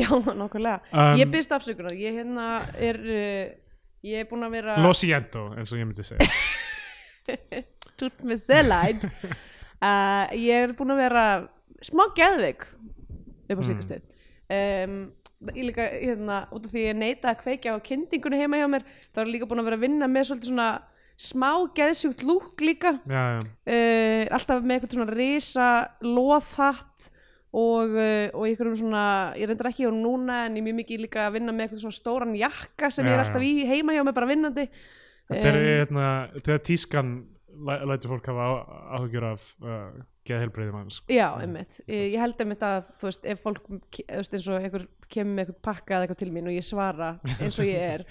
A: já, nákvæmlega
B: Um,
A: ég byrst afsökunar, ég hérna er uh, ég er búin að vera
B: Lo siento, eins og ég myndi segja.
A: stúrt með selaid uh, ég er búin að vera smá geðveik
B: Mm.
A: upp á síkastegn um, ég líka hérna út af því ég neita að kveikja á kyndingunni heima hjá mér þá er ég líka búin að vera að vinna með svolítið svona smá geðsjúkt lúk líka
B: Já, já,
A: uh, alltaf með eitthvað svona risa loðhatt og, uh, og einhverjum svona, ég reyndar ekki á núna en ég er mjög mikið líka að vinna með eitthvað svona stóran jakka sem ég
B: Já,
A: er
B: já.
A: alltaf í heima hjá mér bara vinnandi
B: þetta er
A: Um.
B: hérna, þegar tískan læ lætur fólk hafa á- áhyggjur af uh, geðhelbreyði manns. sko.
A: Já, einmitt. Ég ég held einmitt að, þú veist, ef fólk, ke- þú veist, eins og einhver kemur með eitthvað pakka eða eitthvað til mín og ég svara eins og ég er.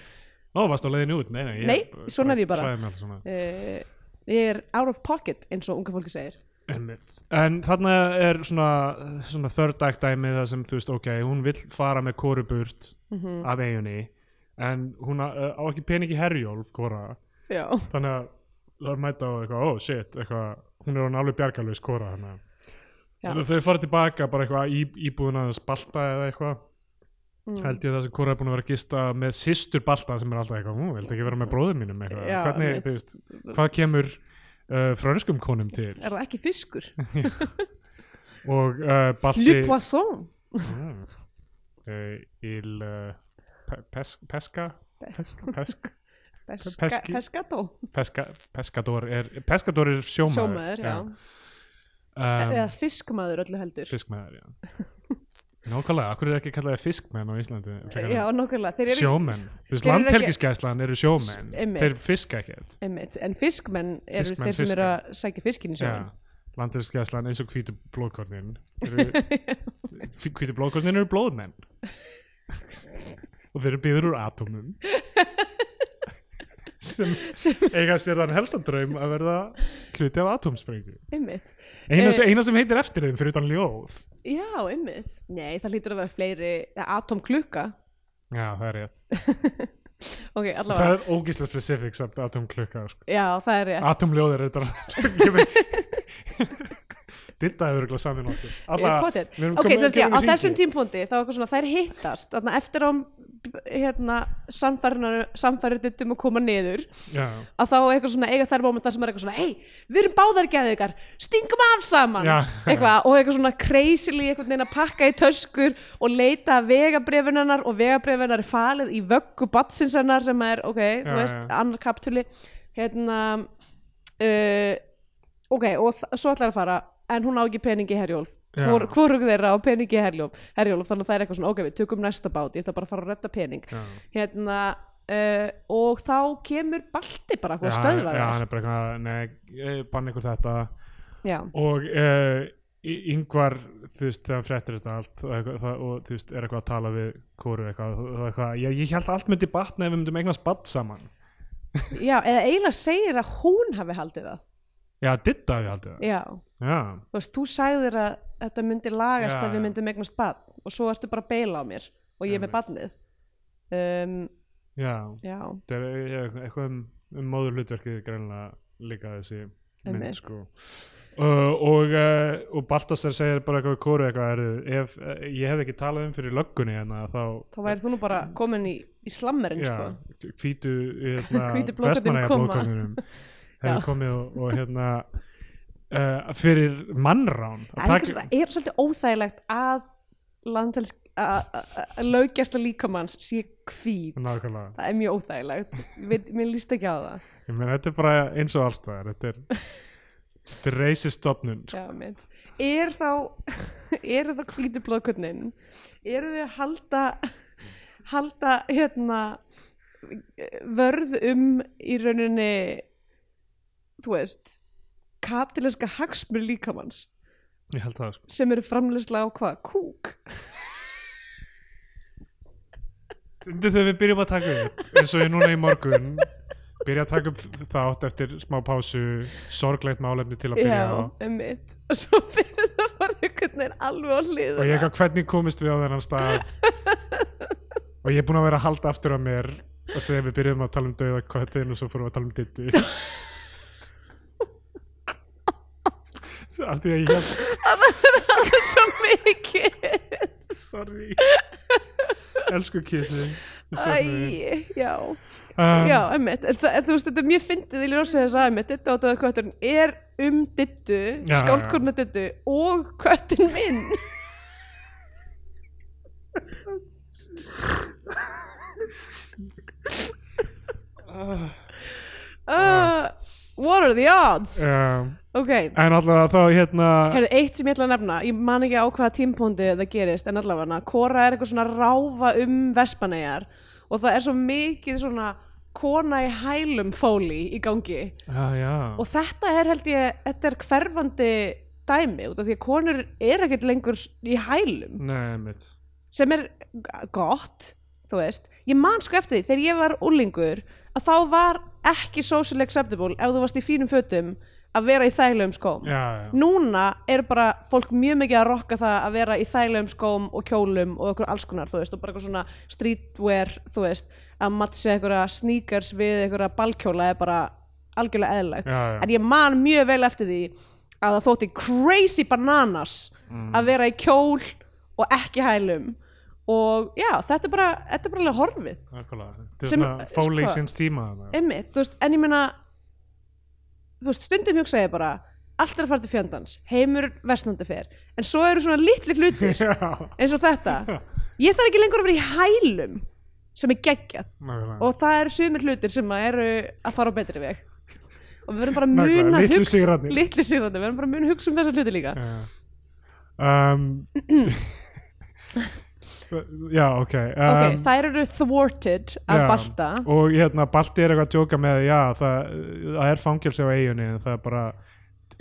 B: Ó, varst á leiðinu út? Nei, nei, ég,
A: Nei, svona er ég bara.
B: Klæði mig alltaf svona.
A: Uh, ég er out of pocket, eins og unga fólki segir.
B: Einmitt. En þarna er svona, svona third act dæmi það sem þú veist, ok, hún vill fara með koruburt
A: Mhm.
B: af eigunni en hún á, á ekki pening í herjólf kora,
A: Já.
B: þannig að það er mæta á eitthvað, oh shit, eitthvað hún er hann alveg bjargalvis kora þannig
A: Já.
B: að þau fara tilbaka bara eitthvað í, íbúðuna að spalta eða eitthvað
A: Mhm.
B: held ég að þessi kora er búin að vera að gista með systur balta sem er alltaf eitthvað, hún vildi ekki vera með bróðum mínum eitthvað,
A: Já,
B: hvernig,
A: einmitt.
B: þú veist, hvað kemur uh, frönskum konum til
A: Er það ekki fiskur?
B: og uh,
A: Le
B: balti
A: poisson.
B: Mm. Uh, il uh, pe pes peska pes pesk
A: Peska,
B: Peski.
A: peskato.
B: peska peskador er peskador er
A: Sjómaður,
B: sjómaður,
A: já.
B: Um,
A: Eða fiskmaður öllu heldur.
B: fiskmaður já Nákvæmlega, akkur er ekki kallaðið fiskmenn á Íslandi? frekar en
A: Já, nokkulega, þeir eru
B: sjómenn. Þú veist,
A: þeir eru ekki-
B: landhelgisgæslan eru sjómenn.
A: S- einmitt.
B: Þeir fiska ekkert.
A: einmitt, en fiskmenn eru
B: Fiskmenn,
A: þeir sem
B: fiskmenn.
A: eru að sækja fiskin í sjóin
B: Já, landhelgisgæslan eins og hvítu blóðkornin. Þeir eru- Hví- Hvítu blóðkornin eru blóðmenn. og þeir eru byður úr atómum. sem
A: sem,
B: eiga sér þann helsta draum að verða hluti af atómsprengu.
A: einmitt
B: Eina,
A: Eh.
B: eina sem heitir eftir þeim fyrir utan ljóð.
A: Já, einmitt, nei, það hlýtur að vera fleiri atomklukka,
B: Já, það er rétt.
A: ok,
B: Það
A: allavega
B: er ógíslega specific samt atomklukka sko.
A: Já, það er rétt
B: Atomljóð er þetta Dinda hefur ekki samin okkur
A: Eh,
B: Alla,
A: pottet.
B: við erum
A: ok,
B: komin-
A: sérst, já,
B: komin
A: á
B: í hringi.
A: þessum tímpúndi þá er eitthvað svona, þær hittast þarna, eftir á hérna, samfæriðum um að koma niður
B: Já,
A: að þá er eitthvað svona eiga þær mómentar sem er eitthvað svona hei, við erum báðar geðveikar, stingum af saman
B: Já.
A: eitthvað, og eitthvað svona kreisili einhvern veginn að pakka í töskur og leita að vegabrefinarnar og vegabrefinarnar er falið í vöggu batsinsennar sem er, ok,
B: Já,
A: þú veist,
B: já.
A: annar kaptuli hérna uh, ok, og þ- svo ætlar að fara en hún á ekki peningi herjólf
B: Já.
A: Hvor, hvorug þeirra á peningi herjólf, herjólf þannig að það er eitthvað svona, ok, við tökum næsta bát ég ætla bara að fara að redda pening
B: já.
A: hérna uh, og þá kemur balti bara
B: Já,
A: eitthvað stöðvað
B: Já, hann
A: þær
B: er bara eitthvað Nei, eh, banna ykkur þetta
A: já,
B: Og uh, yngvar Þú veist, þegar hann fréttir þetta allt og, eitthvað- það, og þú veist, er eitthvað að tala við kóru eitthvað, og, og eitthvað, ég, ég held að allt myndi batna ef við myndum eignast batt saman
A: já, eða eiginlega segir að hún hafi haldið það
B: Já, ditta við haldið það
A: já,
B: Já,
A: þú veist, þú sagðir að þetta myndi lagast
B: Já,
A: ef við
B: já.
A: myndum eignast badn og svo ertu bara að beila á mér og ég er með badnið um,
B: já,
A: já,
B: þetta er eh, eitthvað um, um móður hlutverkið greinlega líka þessi mynd
A: Einmitt.
B: sko. uh, og, uh, og Baltasar segir bara eitthvað við kóru eitthvað er, ef uh, ég hef ekki talað um fyrir löggunni hérna þá
A: þá væri þú nú bara komin í, í slammerinn
B: já,
A: sko
B: hvítu
A: Hvítu
B: hérna,
A: blóðkornin koma.
B: blóðkorninum hefur komið og, og hérna uh, fyrir mannrán
A: það
B: Að
A: er, taka... það er svolítið óþægilegt að landhelsk að- að að löggjæsla líkamanns sé hvít
B: nákvæmlega
A: það er mjög óþægilegt, Við, mér líst ekki á það
B: ég meina þetta er bara eins og allstæðar þetta er þetta er reisist stofnun sko.
A: Já, mitt. Er þá, eru þá hvítu blóðkvörnin, eru þau að halda, halda, hérna, vörð um í rauninni, þú veist, kapitileska hagsmur líkamanns
B: ég held það sko.
A: sem eru framleysla á hvað? Kúk?
B: Stundið þegar við byrjum að taka upp eins og ég núna í morgun byrja að taka upp þátt eftir smá pásu sorglegt málefni til að byrja á
A: Já, mitt. Og svo fyrir það bara einhvern veginn alveg á hliðina.
B: og ég eitthvað hvernig komist við á þennan stað og ég er búin að vera að halda aftur af mér og segja við byrjum að tala um dauða köttin og svo fórum við að tala um dittu af því að ég hef
A: Svo mikið.
B: sorry elsku kissi
A: Æ, já.
B: um,
A: Já, emmitt, en, þa- en þú veist, þetta er mjög fyndið í ljósið þess að emmitt, dittu á döða kötturinn er um dittu,
B: Já,
A: skáldkorna dittu og köttin minn
B: Ah.
A: uh, What are the odds?
B: um,
A: Ok,
B: en allavega þá hérna
A: herðu, eitt sem ég ætla að nefna, ég man ekki á hvaða tímpóndi það gerist, en allavega, Kora er eitthvað svona að ráfa um Vespanegar og það er svo mikið svona kona í hælum fóli í gangi
B: já, já.
A: og þetta er held ég, þetta er hverfandi dæmi út af því að konur er ekkert lengur s- í hælum
B: Nei, mitt
A: sem er g- gott, þú veist ég man sko eftir því, þegar ég var úlingur að þá var ekki social acceptable ef þú varst í fínum fötum að vera í sko. þægilegum skóm
B: já, já.
A: núna er bara fólk mjög mikið að rokka það að vera í þægilegum skóm og kjólum og okkur alls konar, þú veist, og bara eitthvað svona streetwear, þú veist, að matcha einhverja sneakers við einhverja balkjóla er bara algjörlega eðlilegt
B: Já, já.
A: en ég man mjög vel eftir því að það þótti crazy bananas
B: Mm.
A: að vera í kjól og ekki hælum og já, þetta er bara, þetta er bara alveg horfið
B: Akkurat, þetta er
A: Sem-
B: svona fólig
A: sko-
B: sinns tíma þarna.
A: Einmitt, þú veist, en ég meina þú veist, stundum hugsa ég bara allt er að fara til fjandans, heimur versnandi fer, en svo eru svona litli hlutir
B: Já,
A: eins og þetta ég þarf ekki lengur að vera í hælum sem er geggjað
B: nákvæmlega.
A: og það eru sumir hlutir sem að eru að fara á betri veg og við verum bara að
B: Nákvæmlega,
A: muna
B: litlu
A: hugsa-
B: sigrarnir.
A: litlu sigrandi, við verum bara að muna hugsa um þessa hluti líka
B: Já. um, já, ok, um,
A: ok, þær eru thwarted af
B: já.
A: Balta
B: og hérna Balti er eitthvað að djóka með já, það, það er fangelsi á eigunni en það er bara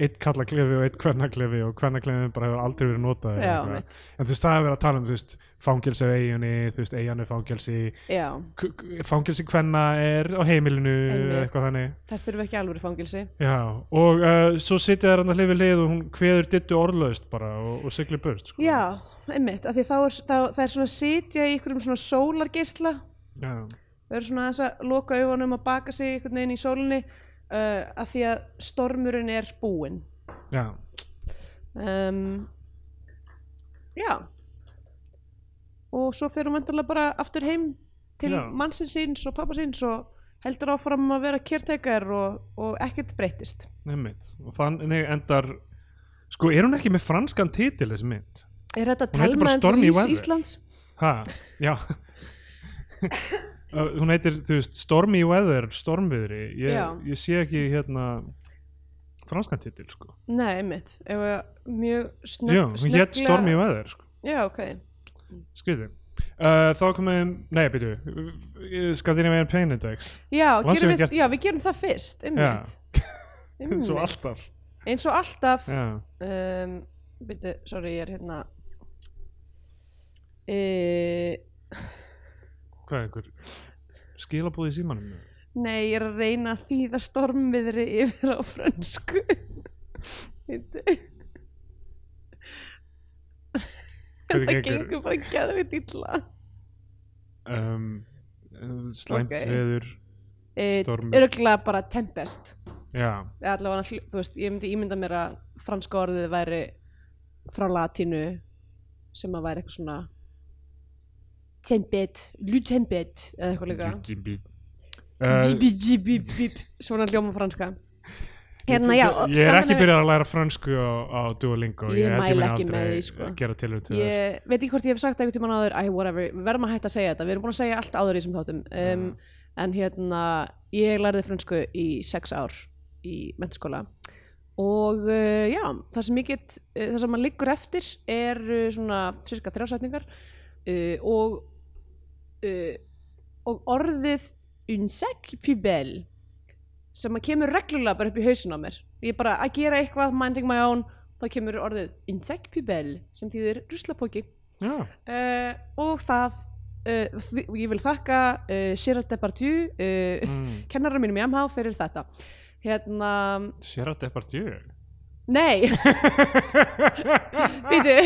B: eitt kallaklefi og eitt kvernaklefi og kvernaklefi bara hefur aldrei verið notað
A: já, mitt,
B: en þú veist það er verið að tala um þú veist, fangelsi á eigunni, þú veist, eigan er fangelsi
A: já
B: k- k- fangelsi kvenna er á heimilinu
A: Einmitt.
B: eitthvað þannig
A: þær þurfa ekki alveg fangilsi
B: Já, og uh, svo sitja þær hann að hlifi lið og hún kveður dittu orðlaust bara og, og sigli burt sko.
A: já, einmitt, af því þá er, þá, það er svona sitja í einhverjum svona sólargeisla
B: Já.
A: þau eru svona aðeins að loka augunum að baka sig einhvern veginn í sólinni uh, af því að stormurinn er búinn
B: Já.
A: um, já og svo fer hún vantarlega bara aftur heim til
B: Já.
A: mannsins síns og pappa síns og heldur áfram að vera kjörtekar og, og ekkert breytist
B: Nefnit. og þannig endar sko, er hún ekki með franskan titil þessi mynd?
A: er þetta
B: Hún heitir
A: Telma
B: bara
A: en
B: Stormy
A: Louise
B: Weather.
A: Íslands?
B: Ha, já Uh, hún heitir, þú veist, Stormy Weather Stormviðri,
A: Já.
B: ég, ég sé ekki hérna franskan titil sko.
A: Nei, mitt, ef að mjög snögg
B: Jú, hún hétt Stormy Weather sko.
A: Já, ok,
B: skriði uh, þá komum, nei, byrju Skandinavian Painitex
A: já,
B: Langt
A: gerum
B: síðan
A: við,
B: gert-
A: já, við gerum það fyrst einmitt, einmitt.
B: svo alltaf
A: eins og alltaf
B: já.
A: um, byrju, sorry, ég er hérna e
B: hvað einhver skilabúð í símanum
A: Nei, ég er að reyna að þýða stormviðri yfir á fransku. Bíddu.
B: Hvernig
A: það
B: gengur?
A: gengur bara geðvitt illa.
B: um, slæmt
A: Ok.
B: veður Stormur.
A: Örgla Eh, bara tempest.
B: já,
A: Eða allavega, hlu- þú veist, ég myndi ímynda mér að franska orðið væri frá latínu sem að væri eitthvað svona tempet, lutempet eða eitthvað líka.
B: Gibi. Uh, Eh,
A: Jibi, jibi, bip, svona ljóma franska. Hérna, já. og
B: ég er ekki
A: Skandinavi-
B: byrjað að læra fransku á, á Duolingo
A: Ég
B: er
A: mæli
B: mun
A: ekki með
B: aldrei
A: því, sko.
B: gera tilhör til þess
A: ég veit ekki hvort ég hef sagt eitthvað tíma áður, æ, whatever, við verðum að hætta að segja þetta við erum búin að segja allt áður í þessum þáttum um, en hérna, ég lærði fransku í sex ár í mentaskóla og uh, já, það sem ég get uh, það sem maður liggur eftir er uh, svona cirka þrjásætningar uh, og uh, og orðið unsec pubel sem að kemur reglulega bara upp í hausin á mér ég er bara að gera eitthvað, minding my own þá kemur orðið insect pubel sem þýðir ruslapóki
B: já,
A: uh, og það uh, því, og ég vil þakka uh, Gerard Depardieu uh,
B: mm.
A: kennara mínum í MH fyrir þetta hérna,
B: Gerard Depardieu
A: nei býtu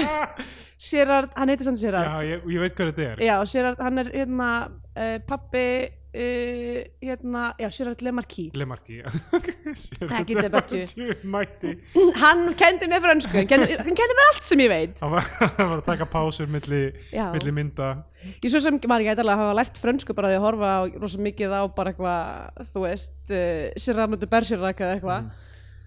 A: Gerard, hann heitir sann Gerard
B: já, ég, ég veit hvað þetta er
A: Já, Gerard, hann er hérna uh, pappi uh, hérna, já, Gerard Lemarquis
B: Lemarki
A: Ekki
B: Gerard
A: Depardieu.
B: mætti
A: hann kendi mér fransku, hann kendi, hann kendi mér allt sem ég veit
B: hann var, hann var að taka pásur milli,
A: Já.
B: milli mynda
A: ég svo sem var ég eitthvað að hafa lært frönsku bara því að horfa á rosa mikið á bara eitthvað þú veist, uh, Serrano de Bergerac eða eitthvað,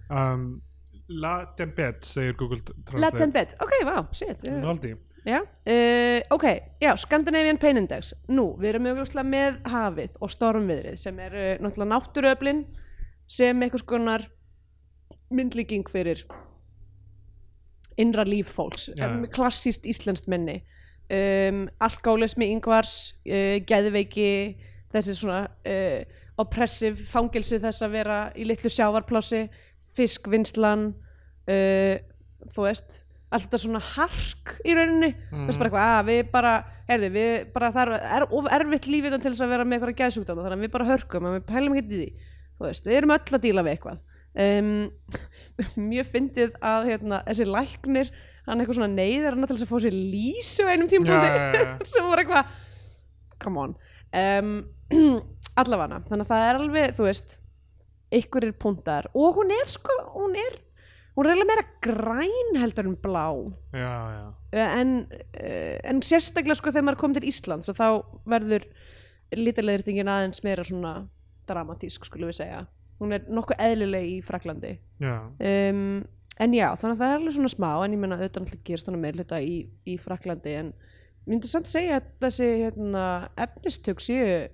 B: Mm, um, La Dembet segir Google Translate
A: Latin bit ok, wow, shit ég-
B: Nóldi
A: já, uh, ok, já, Scandinavian Pain Index nú, við erum auðvitað með hafið og stormviðrið sem eru náttúrulega náttúruöflin sem einhvers konar myndlíking fyrir innra líf fólks
B: Já.
A: um, klassíst íslenskt minni um, alkoholismi yngvars uh, geðveiki þessi svona uh, oppressiv fangelsi þess að vera í litlu sjávarplási fiskvinnslan uh, þú veist allt þetta svona hark í rauninni mm. þess bara eitthvað, að við bara, heyrðu, við bara það er er- of erfitt lífið til þess að vera með eitthvað geðsjúkdóma, þannig að við bara hörkum að við pælum ekki í því, þú veist, við erum öll að díla við eitthvað um, mjög fyndið að hérna, þessi læknir hann eitthvað svona neyðar hann til þess að fá sér lýsi á einum tímpúndi
B: Já, já, já.
A: sem var eitthvað come on um, allavega, þannig að það er alveg þú veist, ykkur er púntar og hún er sko, hún er hún er eiginlega meira græn heldur en blá
B: Já, já
A: Eh, en, eh, en sérstaklega sko þegar maður kom til Íslands að þá verður lítilegðirtingin aðeins meira svona dramatísk skulum við segja hún er nokkuð eðlileg í Fraklandi
B: Já,
A: um, en já, þannig að það er alveg svona smá en ég meina auðvitað náttúrulega gerist þannig meir hluta í, í Fraklandi en myndi samt segja að þessi hérna, efnistök séu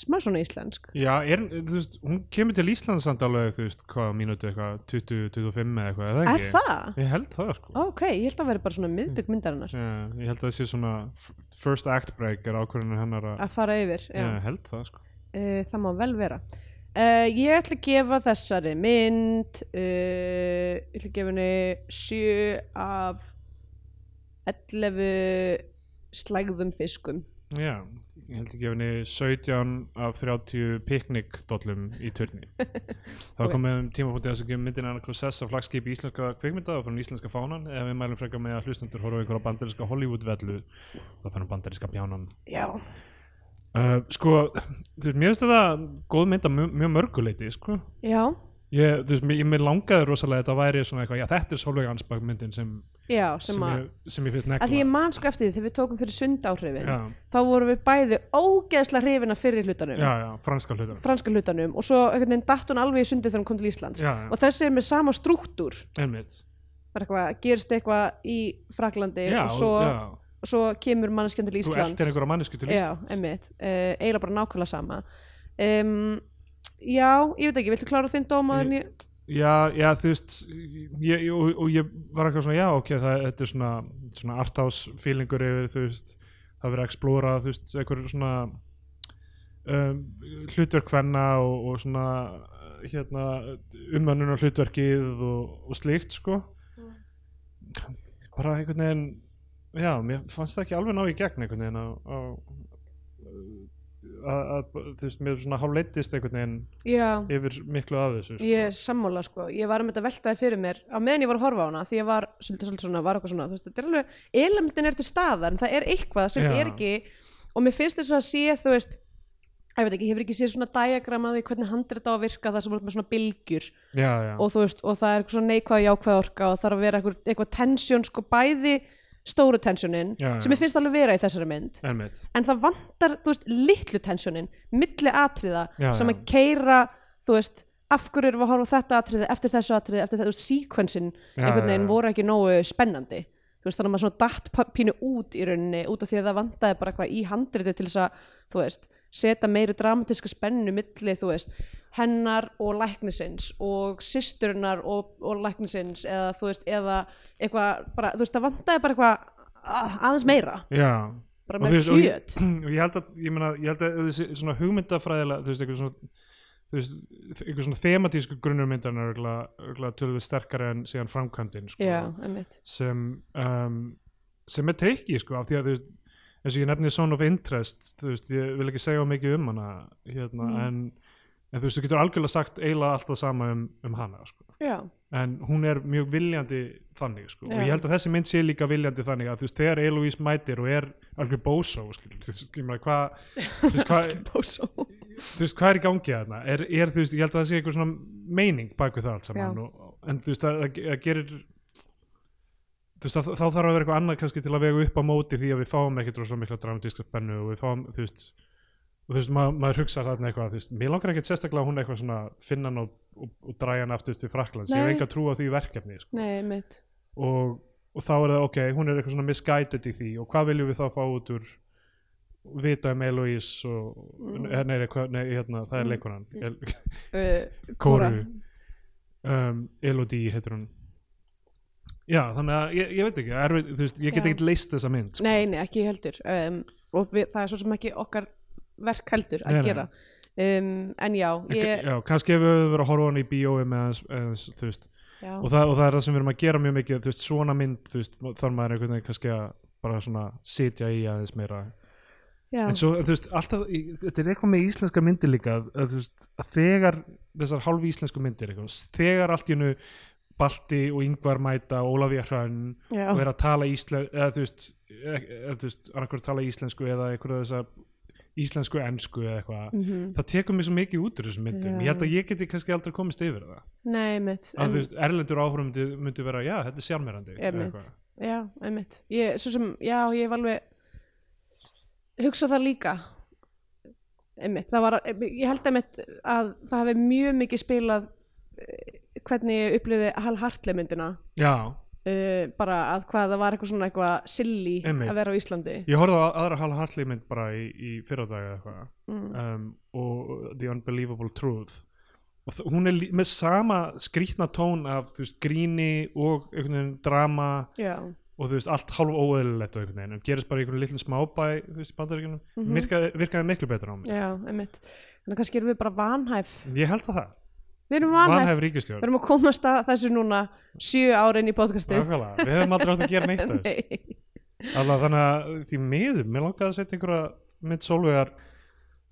A: smá svona íslensk
B: Já, er, þú veist, hún kemur til Íslands samt alveg, þú veist, hvað mínútu eitthvað, 20, 25 eða eitthvað, eða
A: Er
B: ekki?
A: það?
B: Ég held það, sko.
A: Ok, ég held að það væri bara svona miðbygg myndarinnar
B: Já, ég held að það sé svona f- first act break er ákvörðinu hennar að,
A: að fara yfir já.
B: ég held það, sko.
A: Uh, það má vel vera uh, ég ætla að gefa þessari mynd uh, ég ætla að gefa henni 7 af 11 slægðum fiskum
B: Já, ég held ekki henni 17 af 30 piknikdollum í turni. Þá
A: Ok.
B: okay. komum við um tímapunktið þess að gefa myndin annað sess af flagskipi íslenska kvikmynda og fyrir íslenska fánan eða við mælum frekar með að hlustendur horfa á einhverja bandaríska Hollywood-vellu þá fyrir bandaríska bjánan
A: já,
B: Uh, sko, þú veist, mér finnst þetta góð mynd að mjög, mjög mörguleiti, sko
A: já,
B: ég, þú veist, mér, mér langaði rosalega að þetta væri svona eitthvað, já, þetta er Solveig Ansbach myndin sem,
A: já
B: sem,
A: sem að
B: ég, sem ég finnst
A: að því
B: nekla
A: ég man sko eftir því þegar við tókum fyrir sundáhrifin
B: já,
A: þá vorum við bæði ógeðslega hrifin af fyrri hlutanum
B: já, já, franska hlutar
A: franska hlutanum og svo einhvern veginn datt hún alveg í sundi þegar hún kom til Íslands
B: Já, já.
A: og þessi er með sama struktúr
B: einmitt
A: bara eitthvað, gerist eitthvað í Fraklandi
B: já,
A: og svo,
B: já,
A: svo kemur manneskjan til
B: þú
A: Íslands
B: eldir einhverja mannesku til
A: Já,
B: Íslands
A: einmitt, uh, eiginlega bara nákvæmlega sama um, Já, ég veit ekki, viltu klára þinn dómaður? Ég...
B: já, já, þú veist ég, ég, og, og ég var eitthvað svona, já, ok það, þetta er svona, svona arthouse feelingur yfir, þú veist, það verið að explora þú veist, einhverju svona um, hlutverk hvenna og, og svona uh, hérna, umönnunar hlutverkið og, og slíkt sko bara einhvern veginn já, mér fannst það ekki alveg ná í gegn einhvern veginn á, á að, að, þú veist, mér svona hálfleittist einhvern veginn
A: Já,
B: yfir miklu af þessu sko.
A: ég er sammála sko, ég var um þetta veltaði fyrir mér á meðan ég var að horfa á hana því ég var svolítið, svolítið svona, var eitthvað svona þú veist, þetta er alveg, elementin er til staðar en það er eitthvað sem
B: Já.
A: er ekki og mér finnst þess að sé, þú veist ég veit ekki, ég hefur ekki séð svona diagram að því hvernig handrita á að virka það sem er með svona bylgjur
B: já, já,
A: og þú veist, og það er eitthvað svona neikvæð og jákvæð orka og það þarf að vera eitthvað, eitthvað tensjón sko bæði stóru tensjónin
B: Já, já.
A: sem ég finnst alveg vera í þessari mynd
B: einmitt
A: en það vantar, þú veist, litlu tensjónin milli atriða
B: Já,
A: sem
B: já.
A: að keira, þú veist af hverju erum við að horfa á þetta atriði, eftir þessu atriði eftir þetta, þú veist, sequensin
B: Já,
A: einhvern
B: já,
A: veginn
B: já.
A: voru ekki nógu spennandi þú veist, þannig að maður svona datt pa- pínu út í rauninni út af því að það vantaði bara eitthvað í handriti til þess að, þú veist, setja meiri dramatiska spennu milli, þú veist hennar og læknisins og systurinnar og, og læknisins eða, þú veist, eða eitthvað bara, þú veist, það vantaði bara eitthvað ah, aðeins meira,
B: já,
A: bara
B: Og
A: meira
B: þú veist,
A: kjöt
B: og ég held að, ég meina, ég held að þessi svona hugmyndafræðilega, þú veist, einhver svona þú veist, einhver svona thematísku grunnurmyndan er örgulega tölvöld sterkari en síðan framkvæmdin, sko
A: Já, einmitt
B: sem um, sem er trikki, sko, af því að þú veist eins og ég nefni Son of Interest þú veist, ég vil ekki segja of mikið um hana hérna,
A: Mm.
B: en, en þú veist, þú getur algjörlega sagt eiginlega alltaf sama um, um hana, sko
A: Já,
B: en hún er mjög viljandi þannig sko. og
A: Já.
B: ég held að þessi mynd sé líka viljandi þannig að þú veist, þegar Eloise mætir og er algjör bósó skilur, þú veist, ég meina, hvað- þú veist, hvað
A: Bósó
B: þú veist, hvað er í gangi þarna er, er, þú veist, ég held að það sé eitthvað svona meining bak við það allt saman
A: Já.
B: og, en þú veist, það, það- það gerir þú veist, þá, þá þarf að vera eitthvað annað kannski til að vega upp á móti því að við fáum ekkert rosalega mikla dramatíska spennu og við fáum, þú veist og þú veist, maður, maður hugsa þarna eitthvað þú veist, mér langar ekkert sérstaklega að hún eitthvað svona finna hann og, og, og dræja hann aftur til Fraklands ég hef
A: Nei.
B: enga trú á því verkefni sko.
A: Nei, mitt
B: og, og þá er það ok, hún er eitthvað svona misguided í því og hvað viljum við þá fá út úr vita um Eloise og, mm. nei, nei, hvað- nei, hérna, það er
A: Mm.
B: leikunan El,
A: uh,
B: Kóru um, Elodie heitir hún já, þannig að ég, ég veit ekki erfið, þú veist, ég get
A: Já.
B: ekkert leist þessa mynd sko.
A: Nei, nei, ekki heldur um, og við, það er svo sem ekki okkar verk heldur að
B: Nei, nei.
A: gera um, En já,
B: En
A: ég
B: já, kannski ef við höfum verið að horfa á hann í bíói með hans, hans, þú veist,
A: já,
B: og, það, og það er það sem við erum að gera mjög mikið, þú veist, svona mynd þú veist, þarf maður einhvern veginn kannski að bara svona sitja í aðeins meira
A: já,
B: en svo, þú veist, alltaf í- þetta er eitthvað með íslenska myndir líka að, að, þú veist, að þegar þessar hálf íslensku myndir eitthvað, þegar allt í hennu Balti og Yngvar mæta og Ólafía Hrann
A: já,
B: og er að tala íslensku eða þú veist, e- eða, þú veist annarkur tala íslensku eða einhverja þessa íslensku ensku eða eitthvað
A: Mhm.
B: það tekur mig svo mikið út úr þessum
A: Já.
B: myndum ég held að ég geti kannski aldrei komist yfir það
A: nei, mitt
B: að þú veist, erlendur áhrum myndi, myndi vera, já, þetta er sjálfmerandi
A: Einmitt. Já, einmitt ég, Svo sem, já, ég hef alveg hugsað það líka einmitt, það var ég held einmitt að það hafi mjög mikið spilað eh, hvernig ég upplýði Hal Hartley myndina
B: já,
A: uh, bara að hvað það var eitthvað svona eitthvað silly
B: Einmitt.
A: að vera á Íslandi
B: Ég horfði á aðra Hal Hartley mynd bara í, í fyrradaga eitthvað
A: Mm,
B: um, og The Unbelievable Truth og þ- hún er lí- með sama skrýtna tón af þú veist, gríni og einhvern veginn drama
A: já,
B: og þú veist, allt hálf óeðlilegt og einhvern veginn, en gerist bara í einhvern lillin smábæ þú veist, í bandaríkjunum, virkaði, virkaði miklu betur á mig
A: Mhm. já, einmitt þannig að kannski erum við bara vanhæf
B: ég held að það,
A: við erum vanhæf,
B: vanhæf
A: við
B: ríkistjórn
A: erum að komast að þessu núna sjö ára inn í podcastið
B: Nákvæmlega, við hefum aldrei átt að gera neitt af þessu.
A: Nei.
B: Alla þannig að því miður, mér langaði að setja einhverja mynd sólvegar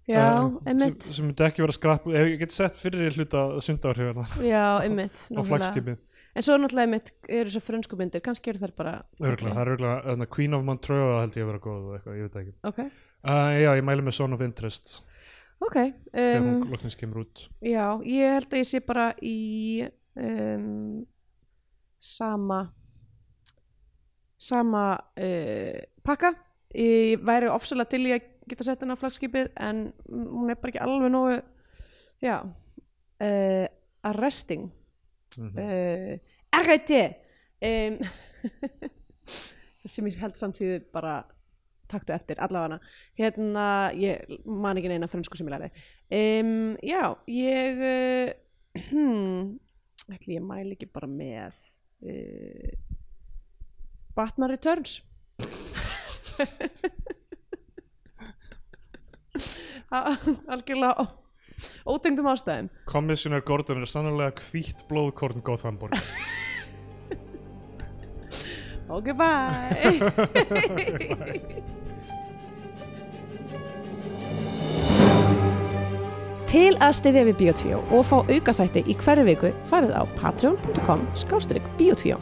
A: já,
B: um,
A: einmitt
B: sem, sem myndi ekki vera skrapp ef ég get sett fyrir hluta sundarhefana
A: já, einmitt
B: á
A: nákvæmlega.
B: flagskipi
A: en svo náttúrulega einmitt eru svo frönsku myndir kannski eru þær bara
B: Örgulega, það er örgulega, þannig Queen of Montreux held ég að vera góð og eitthvað, ég veit það ekki.
A: ok,
B: Uh, já, ég mæli með Son of Interest
A: ok
B: þegar
A: um,
B: hún loknins kemur út.
A: já, ég held að ég sé bara í um, sama sama uh, pakka ég væri ofsalega til í að geta sett henni á flagskipið en hún er bara ekki alveg nógu já uh, arresting
B: Mm
A: uh, RIT um, sem ég held samtíðu bara taktu eftir allavega hérna, ég man ekki neina frönsku sem ég læði um, já, ég uh, hmm, ætli ég mæli ekki bara með uh, Batman Returns Al- algjörlega ó- ótengdum ástæðin
B: Commissioner Gordon er sannlega hvítt blóðkorn góð þambor.
A: ok, bye Til að styðja við Bíotvíó og fá aukaþætti í hverju viku farið á patreon.com skástrík Bíotvíó.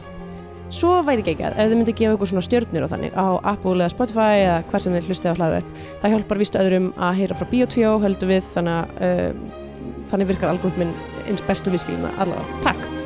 A: Svo væri ekki að ef þið myndi gefa ykkur svona stjörnir og þannig á Apple eða Spotify eða hvað sem þið hlustið á hlaður. Það hjálpar víst öðrum að heyra frá eh, Bíotvíó höldum við þannig að um, þannig virkar algoritminn eins bestu við skiljum það allavega. Takk!